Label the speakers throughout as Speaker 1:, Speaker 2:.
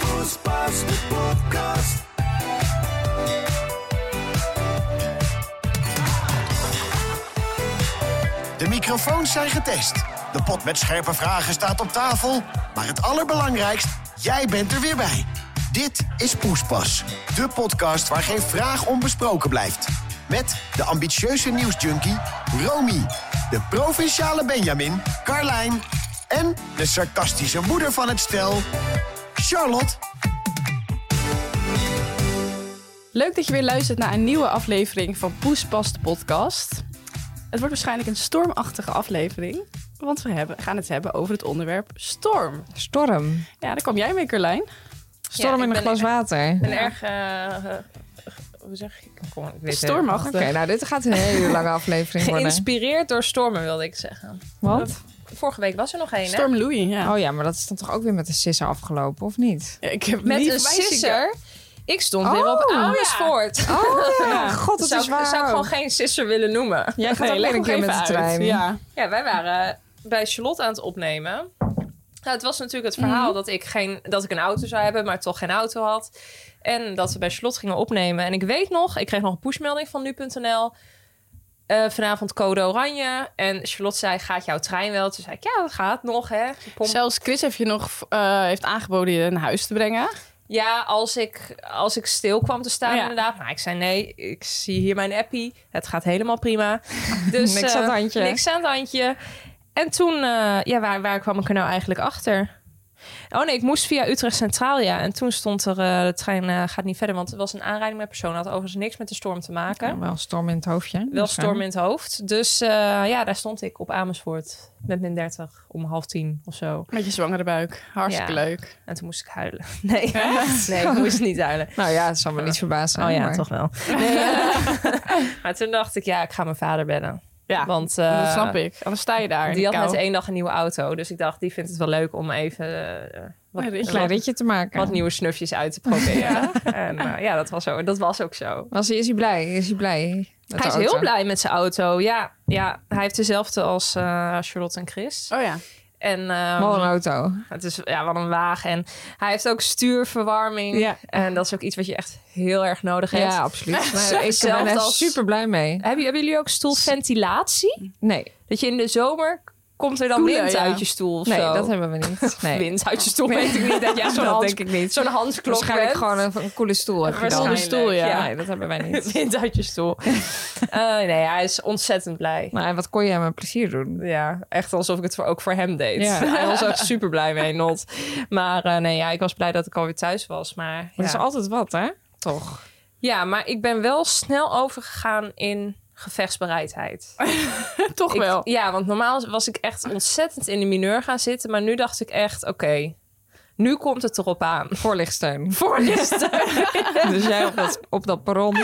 Speaker 1: Poespas de podcast. De microfoons zijn getest. De pot met scherpe vragen staat op tafel. Maar het allerbelangrijkst, jij bent er weer bij. Dit is Poespas, de podcast waar geen vraag onbesproken blijft. Met de ambitieuze nieuwsjunkie Romy, de provinciale Benjamin Carlijn en de sarcastische moeder van het stel Charlotte.
Speaker 2: Leuk dat je weer luistert naar een nieuwe aflevering van Poes Past de podcast. Het wordt waarschijnlijk een stormachtige aflevering, want we hebben, gaan het hebben over het onderwerp storm.
Speaker 3: Storm.
Speaker 2: Ja, daar kwam jij mee, Carlijn.
Speaker 3: Storm
Speaker 4: ik
Speaker 3: in een
Speaker 4: ben-
Speaker 3: glas water.
Speaker 4: ben erg. eh, eh, hoe zeg ik? Kom, ik weet het
Speaker 2: Stormachtig.
Speaker 3: Oké, nou dit gaat een hele lange
Speaker 4: niet.
Speaker 3: aflevering worden.
Speaker 4: Geïnspireerd door stormen, wilde ik zeggen.
Speaker 3: Want?
Speaker 4: Vorige week was er nog een, hè?
Speaker 2: Storm Louis, ja.
Speaker 3: Oh ja, maar dat is dan toch ook weer met een sisser afgelopen, of niet?
Speaker 2: Ja, ik heb
Speaker 4: Met
Speaker 2: niet
Speaker 4: een
Speaker 2: voorbij zien
Speaker 4: sisser. Ik stond
Speaker 3: Oh,
Speaker 4: weer op
Speaker 3: ja.
Speaker 4: Amersfoort.
Speaker 3: Oh ja, god, dat
Speaker 4: zou,
Speaker 3: is waar.
Speaker 4: ik- zou ik gewoon geen sisser willen noemen.
Speaker 3: Jij gaat
Speaker 2: komen.
Speaker 3: ook
Speaker 2: leg
Speaker 3: weer
Speaker 2: nog
Speaker 3: een keer
Speaker 2: even
Speaker 3: met de
Speaker 2: uit.
Speaker 3: trein.
Speaker 2: Ja.
Speaker 4: Ja, wij waren bij Charlotte aan het opnemen. Nou, het was natuurlijk het verhaal dat, ik geen, dat ik een auto zou hebben, maar toch geen auto had. En dat we bij Charlotte gingen opnemen. En ik weet nog, ik kreeg nog een pushmelding van nu.nl. Eh, vanavond code oranje. En Charlotte zei, gaat jouw trein wel? Toen zei ik, ja, dat gaat nog, hè. Pomp-
Speaker 2: Zelfs Chris heeft je nog eh, heeft aangeboden je naar huis te brengen.
Speaker 4: Ja, als ik, als ik stil kwam te staan
Speaker 2: Ja.
Speaker 4: inderdaad. Maar ik zei nee, ik zie hier mijn appie. Het gaat helemaal prima. Dus,
Speaker 3: Niks aan het
Speaker 4: eh,
Speaker 3: handje.
Speaker 4: Niks aan het handje. En toen, eh, ja, waar, waar kwam ik er nou eigenlijk achter? Oh nee, ik moest via Utrecht Centraal, ja. En toen stond er, eh, de trein eh, gaat niet verder, want het was een aanrijding met personen. Had overigens niks met de storm te maken.
Speaker 3: Ja, wel storm in het hoofdje.
Speaker 4: Wel
Speaker 3: Dus, eh,
Speaker 4: storm in het hoofd. Dus eh, ja, daar stond ik op Amersfoort met min 30 om half tien of zo.
Speaker 2: Met je zwangere buik. Hartstikke
Speaker 4: Ja.
Speaker 2: leuk.
Speaker 4: En toen moest ik huilen. Nee, nee ik moest niet huilen.
Speaker 3: Nou ja, het zal me niet verbazen.
Speaker 4: Oh ja,
Speaker 3: maar-
Speaker 4: toch wel. maar toen dacht ik, ja, ik ga mijn vader bellen.
Speaker 2: Ja,
Speaker 4: Want eh,
Speaker 2: dat snap ik. Anders sta je daar in
Speaker 4: die
Speaker 2: de
Speaker 4: had
Speaker 2: kou.
Speaker 4: net één dag een nieuwe auto. Dus ik dacht, die vindt het wel leuk om even eh, wat,
Speaker 2: Een ritje.
Speaker 3: Klein
Speaker 4: wat,
Speaker 3: ritje te maken.
Speaker 4: wat nieuwe snufjes uit te proberen. En eh, ja, dat was, zo, dat was ook zo.
Speaker 3: Was hij, is hij blij? Is hij blij? met
Speaker 4: Hij is
Speaker 3: de auto?
Speaker 4: heel blij met zijn auto. Ja, ja hij heeft dezelfde als eh, Charlotte en Chris.
Speaker 2: Oh ja.
Speaker 4: En ehm,
Speaker 3: Wat een auto.
Speaker 4: het is ja, wat een wagen. En hij heeft ook stuurverwarming.
Speaker 2: Ja.
Speaker 4: En dat is ook iets wat je echt heel erg nodig hebt.
Speaker 3: Ja, absoluut. Maar ik ben
Speaker 4: Hetzelfde
Speaker 3: er
Speaker 4: als-
Speaker 3: super blij mee.
Speaker 4: Hebben, hebben jullie ook stoelventilatie?
Speaker 3: Nee,
Speaker 4: Dat je in de zomer komt er dan
Speaker 2: Koeler,
Speaker 4: wind
Speaker 2: ja.
Speaker 4: uit je stoel of
Speaker 3: nee
Speaker 4: zo.
Speaker 3: dat hebben we niet. Nee.
Speaker 4: Wind uit je stoel weet ik niet. Dat jij zo'n
Speaker 3: Dat
Speaker 4: Hans,
Speaker 3: denk ik niet.
Speaker 4: Zo'n Hansklok
Speaker 3: Waarschijnlijk
Speaker 4: bent.
Speaker 3: gewoon een, een coole stoel heb je dan.
Speaker 2: Waarschijnlijk, stoel, ja.
Speaker 3: Nee, dat hebben wij niet.
Speaker 4: wind uit je stoel. Eh, nee, hij is ontzettend blij.
Speaker 3: Nou, en wat kon je hem een plezier doen?
Speaker 4: Ja, echt alsof ik het voor, ook voor hem deed.
Speaker 3: Ja.
Speaker 4: Hij was echt super blij mee, Not. Maar eh, nee, ja, ik was blij dat ik alweer thuis was. Maar,
Speaker 3: Dat is
Speaker 4: ja.
Speaker 3: altijd wat, hè? Toch?
Speaker 4: ja, maar ik ben wel snel overgegaan in gevechtsbereidheid.
Speaker 2: Toch
Speaker 4: Ik-
Speaker 2: wel.
Speaker 4: ja, want normaal was ik echt ontzettend in de mineur gaan zitten. Maar nu dacht ik echt, oké, nu komt het erop aan.
Speaker 3: Voorlichtsteun.
Speaker 4: Voorlichten,
Speaker 3: dus jij op dat, op dat perron.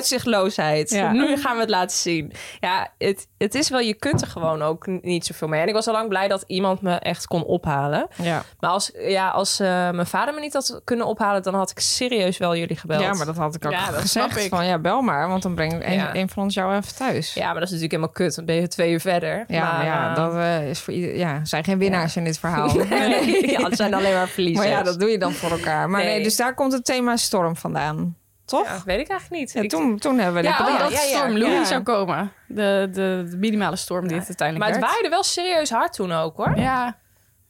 Speaker 4: uitzichtloosheid.
Speaker 3: Ja.
Speaker 4: Nu gaan we het laten zien. Ja, het, het is wel, je kunt er gewoon ook n- niet zoveel mee. En ik was al lang blij dat iemand me echt kon ophalen.
Speaker 3: Ja.
Speaker 4: Maar als, ja, als eh, mijn vader me niet had kunnen ophalen, dan had ik serieus wel jullie gebeld.
Speaker 3: ja, maar dat had ik ook
Speaker 2: Ja, dat
Speaker 3: gezegd.
Speaker 2: snap ik.
Speaker 3: Van ja, bel maar, want dan breng ik een,
Speaker 4: Ja.
Speaker 3: een van ons jou even thuis. Ja,
Speaker 4: Ja, maar dat is natuurlijk helemaal kut. Dan ben je twee uur verder.
Speaker 3: maar, ja
Speaker 4: eh,
Speaker 3: dat eh, is voor ieder, ja, zijn geen winnaars in dit verhaal.
Speaker 4: ja, het zijn alleen maar verliezers.
Speaker 3: Maar ja, dat doe je dan voor elkaar. Maar nee,
Speaker 4: Nee.
Speaker 3: dus daar komt het thema storm vandaan. Toch?
Speaker 4: Ja, weet ik eigenlijk niet.
Speaker 3: Ja,
Speaker 4: Ik-
Speaker 3: toen, toen hebben we
Speaker 4: Ja,
Speaker 3: dit
Speaker 4: oh,
Speaker 3: bedacht.
Speaker 2: dat
Speaker 4: ja, ja.
Speaker 2: storm Louis
Speaker 3: Ja.
Speaker 2: zou komen. De, de, de minimale storm die het uiteindelijk
Speaker 4: maar het
Speaker 2: werd.
Speaker 4: waaide wel serieus hard toen ook, hoor.
Speaker 2: Ja.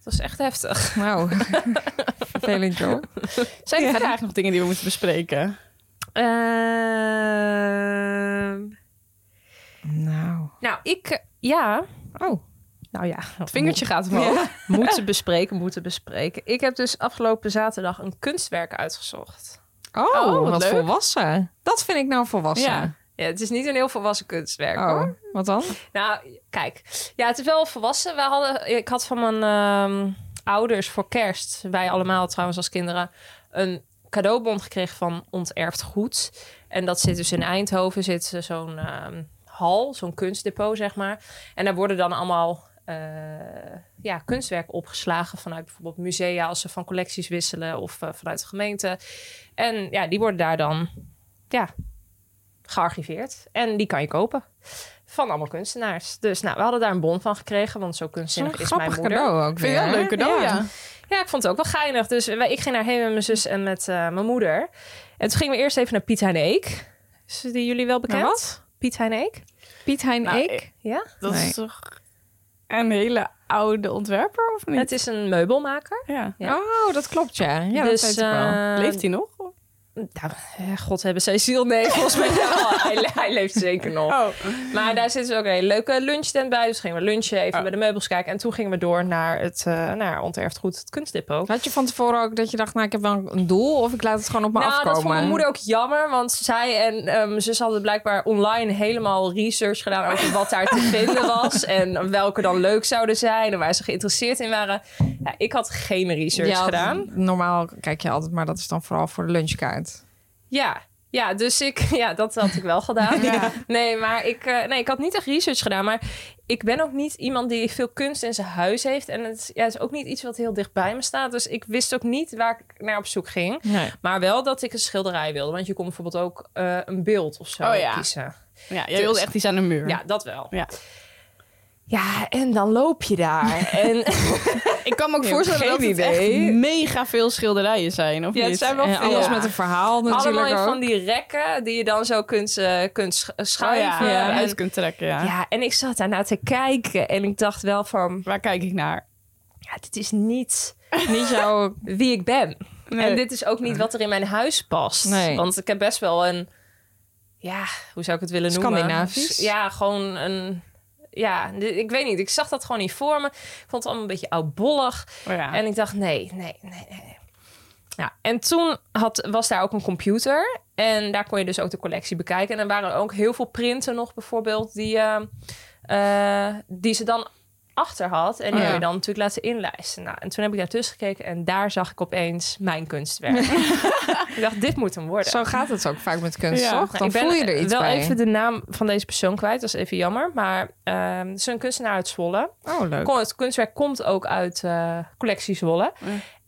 Speaker 4: Dat was echt heftig.
Speaker 3: Nou, vervelend joh.
Speaker 2: Zijn er verder eigenlijk nog dingen die we moeten bespreken?
Speaker 4: Ehm,
Speaker 3: Nou.
Speaker 4: nou, ik... Ja.
Speaker 3: Oh,
Speaker 4: Nou ja.
Speaker 2: Het vingertje gaat omhoog.
Speaker 4: Mo- Moeten bespreken, moeten bespreken. Ik heb dus afgelopen zaterdag een kunstwerk uitgezocht.
Speaker 3: oh,
Speaker 2: Oh, wat
Speaker 3: wat,
Speaker 2: leuk.
Speaker 3: volwassen. Dat vind ik nou volwassen.
Speaker 2: Ja.
Speaker 4: Ja, het is niet een heel volwassen kunstwerk, hoor.
Speaker 3: Oh, wat dan?
Speaker 4: Nou, kijk. Ja, het is wel volwassen. We hadden, ik had van mijn ehm, ouders voor kerst, wij allemaal trouwens als kinderen, een cadeaubon gekregen van Onterfd Goed. En dat zit dus in Eindhoven, zit ze zo'n ehm, hal, zo'n kunstdepot, zeg maar. En daar worden dan allemaal eh, ja, kunstwerk opgeslagen vanuit bijvoorbeeld musea, als ze van collecties wisselen of eh, vanuit de gemeente. En ja, die worden daar dan ja, gearchiveerd. En die kan je kopen. Van allemaal kunstenaars. Dus nou, we hadden daar een bon van gekregen, want zo kunstzinnig
Speaker 3: Zo'n
Speaker 4: is mijn
Speaker 3: grappig
Speaker 4: moeder.
Speaker 3: cadeau ook
Speaker 2: Ik vind het wel een
Speaker 3: weer,
Speaker 2: leuk
Speaker 3: hè?
Speaker 2: cadeau, ja.
Speaker 4: Ja, ik vond het ook wel geinig. Dus wij, ik ging daarheen met mijn zus en met eh, mijn moeder. En toen gingen we eerst even naar Piet Hein Eek. Is die jullie wel bekend?
Speaker 3: Naar wat?
Speaker 4: Piet Hein Eek?
Speaker 3: Piet Hein
Speaker 2: Nou,
Speaker 3: Eek.
Speaker 2: ik-
Speaker 4: Ja.
Speaker 2: Dat
Speaker 3: Nee.
Speaker 2: is toch een hele oude ontwerper, of niet?
Speaker 4: Het is een meubelmaker.
Speaker 2: ja. Oh,
Speaker 4: ja.
Speaker 3: Oh, dat klopt, ja. Ja,
Speaker 4: dus,
Speaker 3: dat weet ik wel.
Speaker 4: eh,
Speaker 2: Leeft hij nog?
Speaker 4: nou, eh, God hebben zij ziel. Nee, volgens mij wel. hij, le- hij leeft zeker nog.
Speaker 2: Oh,
Speaker 4: Maar daar zit dus ook een hele leuke lunchtent bij. Dus gingen we lunchen, even
Speaker 2: Oh.
Speaker 4: bij de meubels kijken. En toen gingen we door naar het eh naar onterfd goed, het kunstdepot.
Speaker 3: Had je van tevoren ook dat je dacht, nou, ik heb wel een doel of ik laat het gewoon op me
Speaker 4: nou,
Speaker 3: afkomen?
Speaker 4: dat vond mijn moeder ook jammer, want zij en eh, mijn zus hadden blijkbaar online helemaal research gedaan over wat daar te vinden was en welke dan leuk zouden zijn en waar ze geïnteresseerd in waren. Ja, ik had geen research
Speaker 3: Ja,
Speaker 4: gedaan.
Speaker 3: Normaal kijk je altijd, maar dat is dan vooral voor de lunchkaart.
Speaker 4: Ja, ja, dus ik, ja, dat had ik wel gedaan.
Speaker 3: Ja.
Speaker 4: Nee, maar ik, eh, nee, ik had niet echt research gedaan, maar ik ben ook niet iemand die veel kunst in zijn huis heeft en het is- ja, het is ook niet iets wat heel dichtbij me staat, dus ik wist ook niet waar ik naar op zoek ging.
Speaker 3: Nee.
Speaker 4: Maar wel dat ik een schilderij wilde. Want je kon bijvoorbeeld ook eh, een beeld of zo
Speaker 2: Oh ja.
Speaker 4: kiezen.
Speaker 2: ja, jij wilde echt iets aan de muur.
Speaker 4: Ja, dat wel.
Speaker 2: Dus- Ja.
Speaker 4: Ja, en dan loop je daar. en,
Speaker 2: Ik kan me ook
Speaker 4: Ik heb
Speaker 2: voorstellen
Speaker 4: geen
Speaker 2: dat het
Speaker 4: idee.
Speaker 2: echt mega veel schilderijen zijn, of
Speaker 4: Ja, het
Speaker 2: niet?
Speaker 4: zijn wel
Speaker 3: En alles
Speaker 2: Ja.
Speaker 3: met een verhaal
Speaker 4: allemaal
Speaker 3: natuurlijk
Speaker 4: in
Speaker 3: ook.
Speaker 4: van die rekken die je dan zo kunt, eh, kunt sch-
Speaker 2: Oh,
Speaker 4: schuiven.
Speaker 2: ja, ja,
Speaker 4: En,
Speaker 2: uit kunt trekken, ja.
Speaker 4: ja, en ik zat daarna te kijken. En ik dacht wel van,
Speaker 2: Waar kijk ik naar?
Speaker 4: ja, dit is niet
Speaker 3: Niet jouw...
Speaker 4: wie ik ben.
Speaker 2: Nee.
Speaker 4: En dit is ook niet wat er in mijn huis past.
Speaker 3: Nee.
Speaker 4: Want ik heb best wel een... Ja, hoe zou ik het willen noemen?
Speaker 3: Scandinavisch?
Speaker 4: Ja, gewoon een... Ja, d- ik weet niet. Ik zag dat gewoon niet voor me. Ik vond het allemaal een beetje oudbollig.
Speaker 2: Oh, ja.
Speaker 4: En ik dacht, nee, nee, nee, nee. nee. Ja, en toen had, was daar ook een computer. En daar kon je dus ook de collectie bekijken. En er waren ook heel veel printen nog bijvoorbeeld... die, ehm, eh, eh, die ze dan achter had. En die
Speaker 3: Oh Ja.
Speaker 4: heb je dan natuurlijk laten inlijsten. Nou, en toen heb ik daartussen gekeken... en daar zag ik opeens mijn kunstwerk. ik dacht, dit moet hem worden.
Speaker 3: Zo gaat het ook vaak met kunst,
Speaker 2: Ja.
Speaker 3: toch?
Speaker 4: Nou,
Speaker 3: Dan
Speaker 4: ik ben
Speaker 3: voel je er iets
Speaker 4: wel
Speaker 3: bij.
Speaker 4: even de naam van deze persoon kwijt. Dat is even jammer. Maar ehm, het is een kunstenaar uit Zwolle.
Speaker 3: Oh, leuk.
Speaker 4: Kon- het kunstwerk komt ook uit eh collectie Zwolle.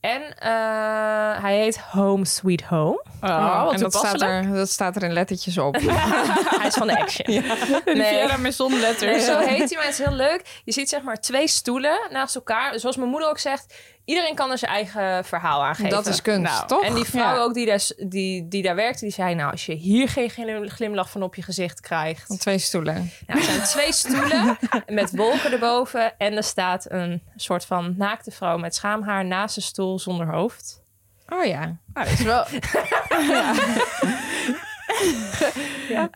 Speaker 4: En eh, hij heet Home Sweet Home.
Speaker 2: Oh, wat
Speaker 3: en dat staat,
Speaker 2: toepasselijk.
Speaker 3: er, dat staat er in lettertjes op.
Speaker 4: hij is van de Action.
Speaker 2: Riviera met
Speaker 4: Nee,
Speaker 2: zonletters.
Speaker 4: zo heet hij, maar het is heel leuk. Je ziet zeg maar twee stoelen naast elkaar. Zoals mijn moeder ook zegt, iedereen kan er zijn eigen verhaal aan geven.
Speaker 3: dat is kunst,
Speaker 2: Nou,
Speaker 3: toch?
Speaker 4: En die vrouw
Speaker 3: Ja.
Speaker 4: ook die daar, s- die, die daar werkte, die zei... nou, als je hier geen glim- glimlach van op je gezicht krijgt...
Speaker 3: Van twee stoelen.
Speaker 4: Nou, er zijn twee stoelen met wolken erboven. En er staat een soort van naakte vrouw met schaamhaar naast een stoel zonder hoofd.
Speaker 3: Oh ja.
Speaker 2: Nou, dat is wel... ja.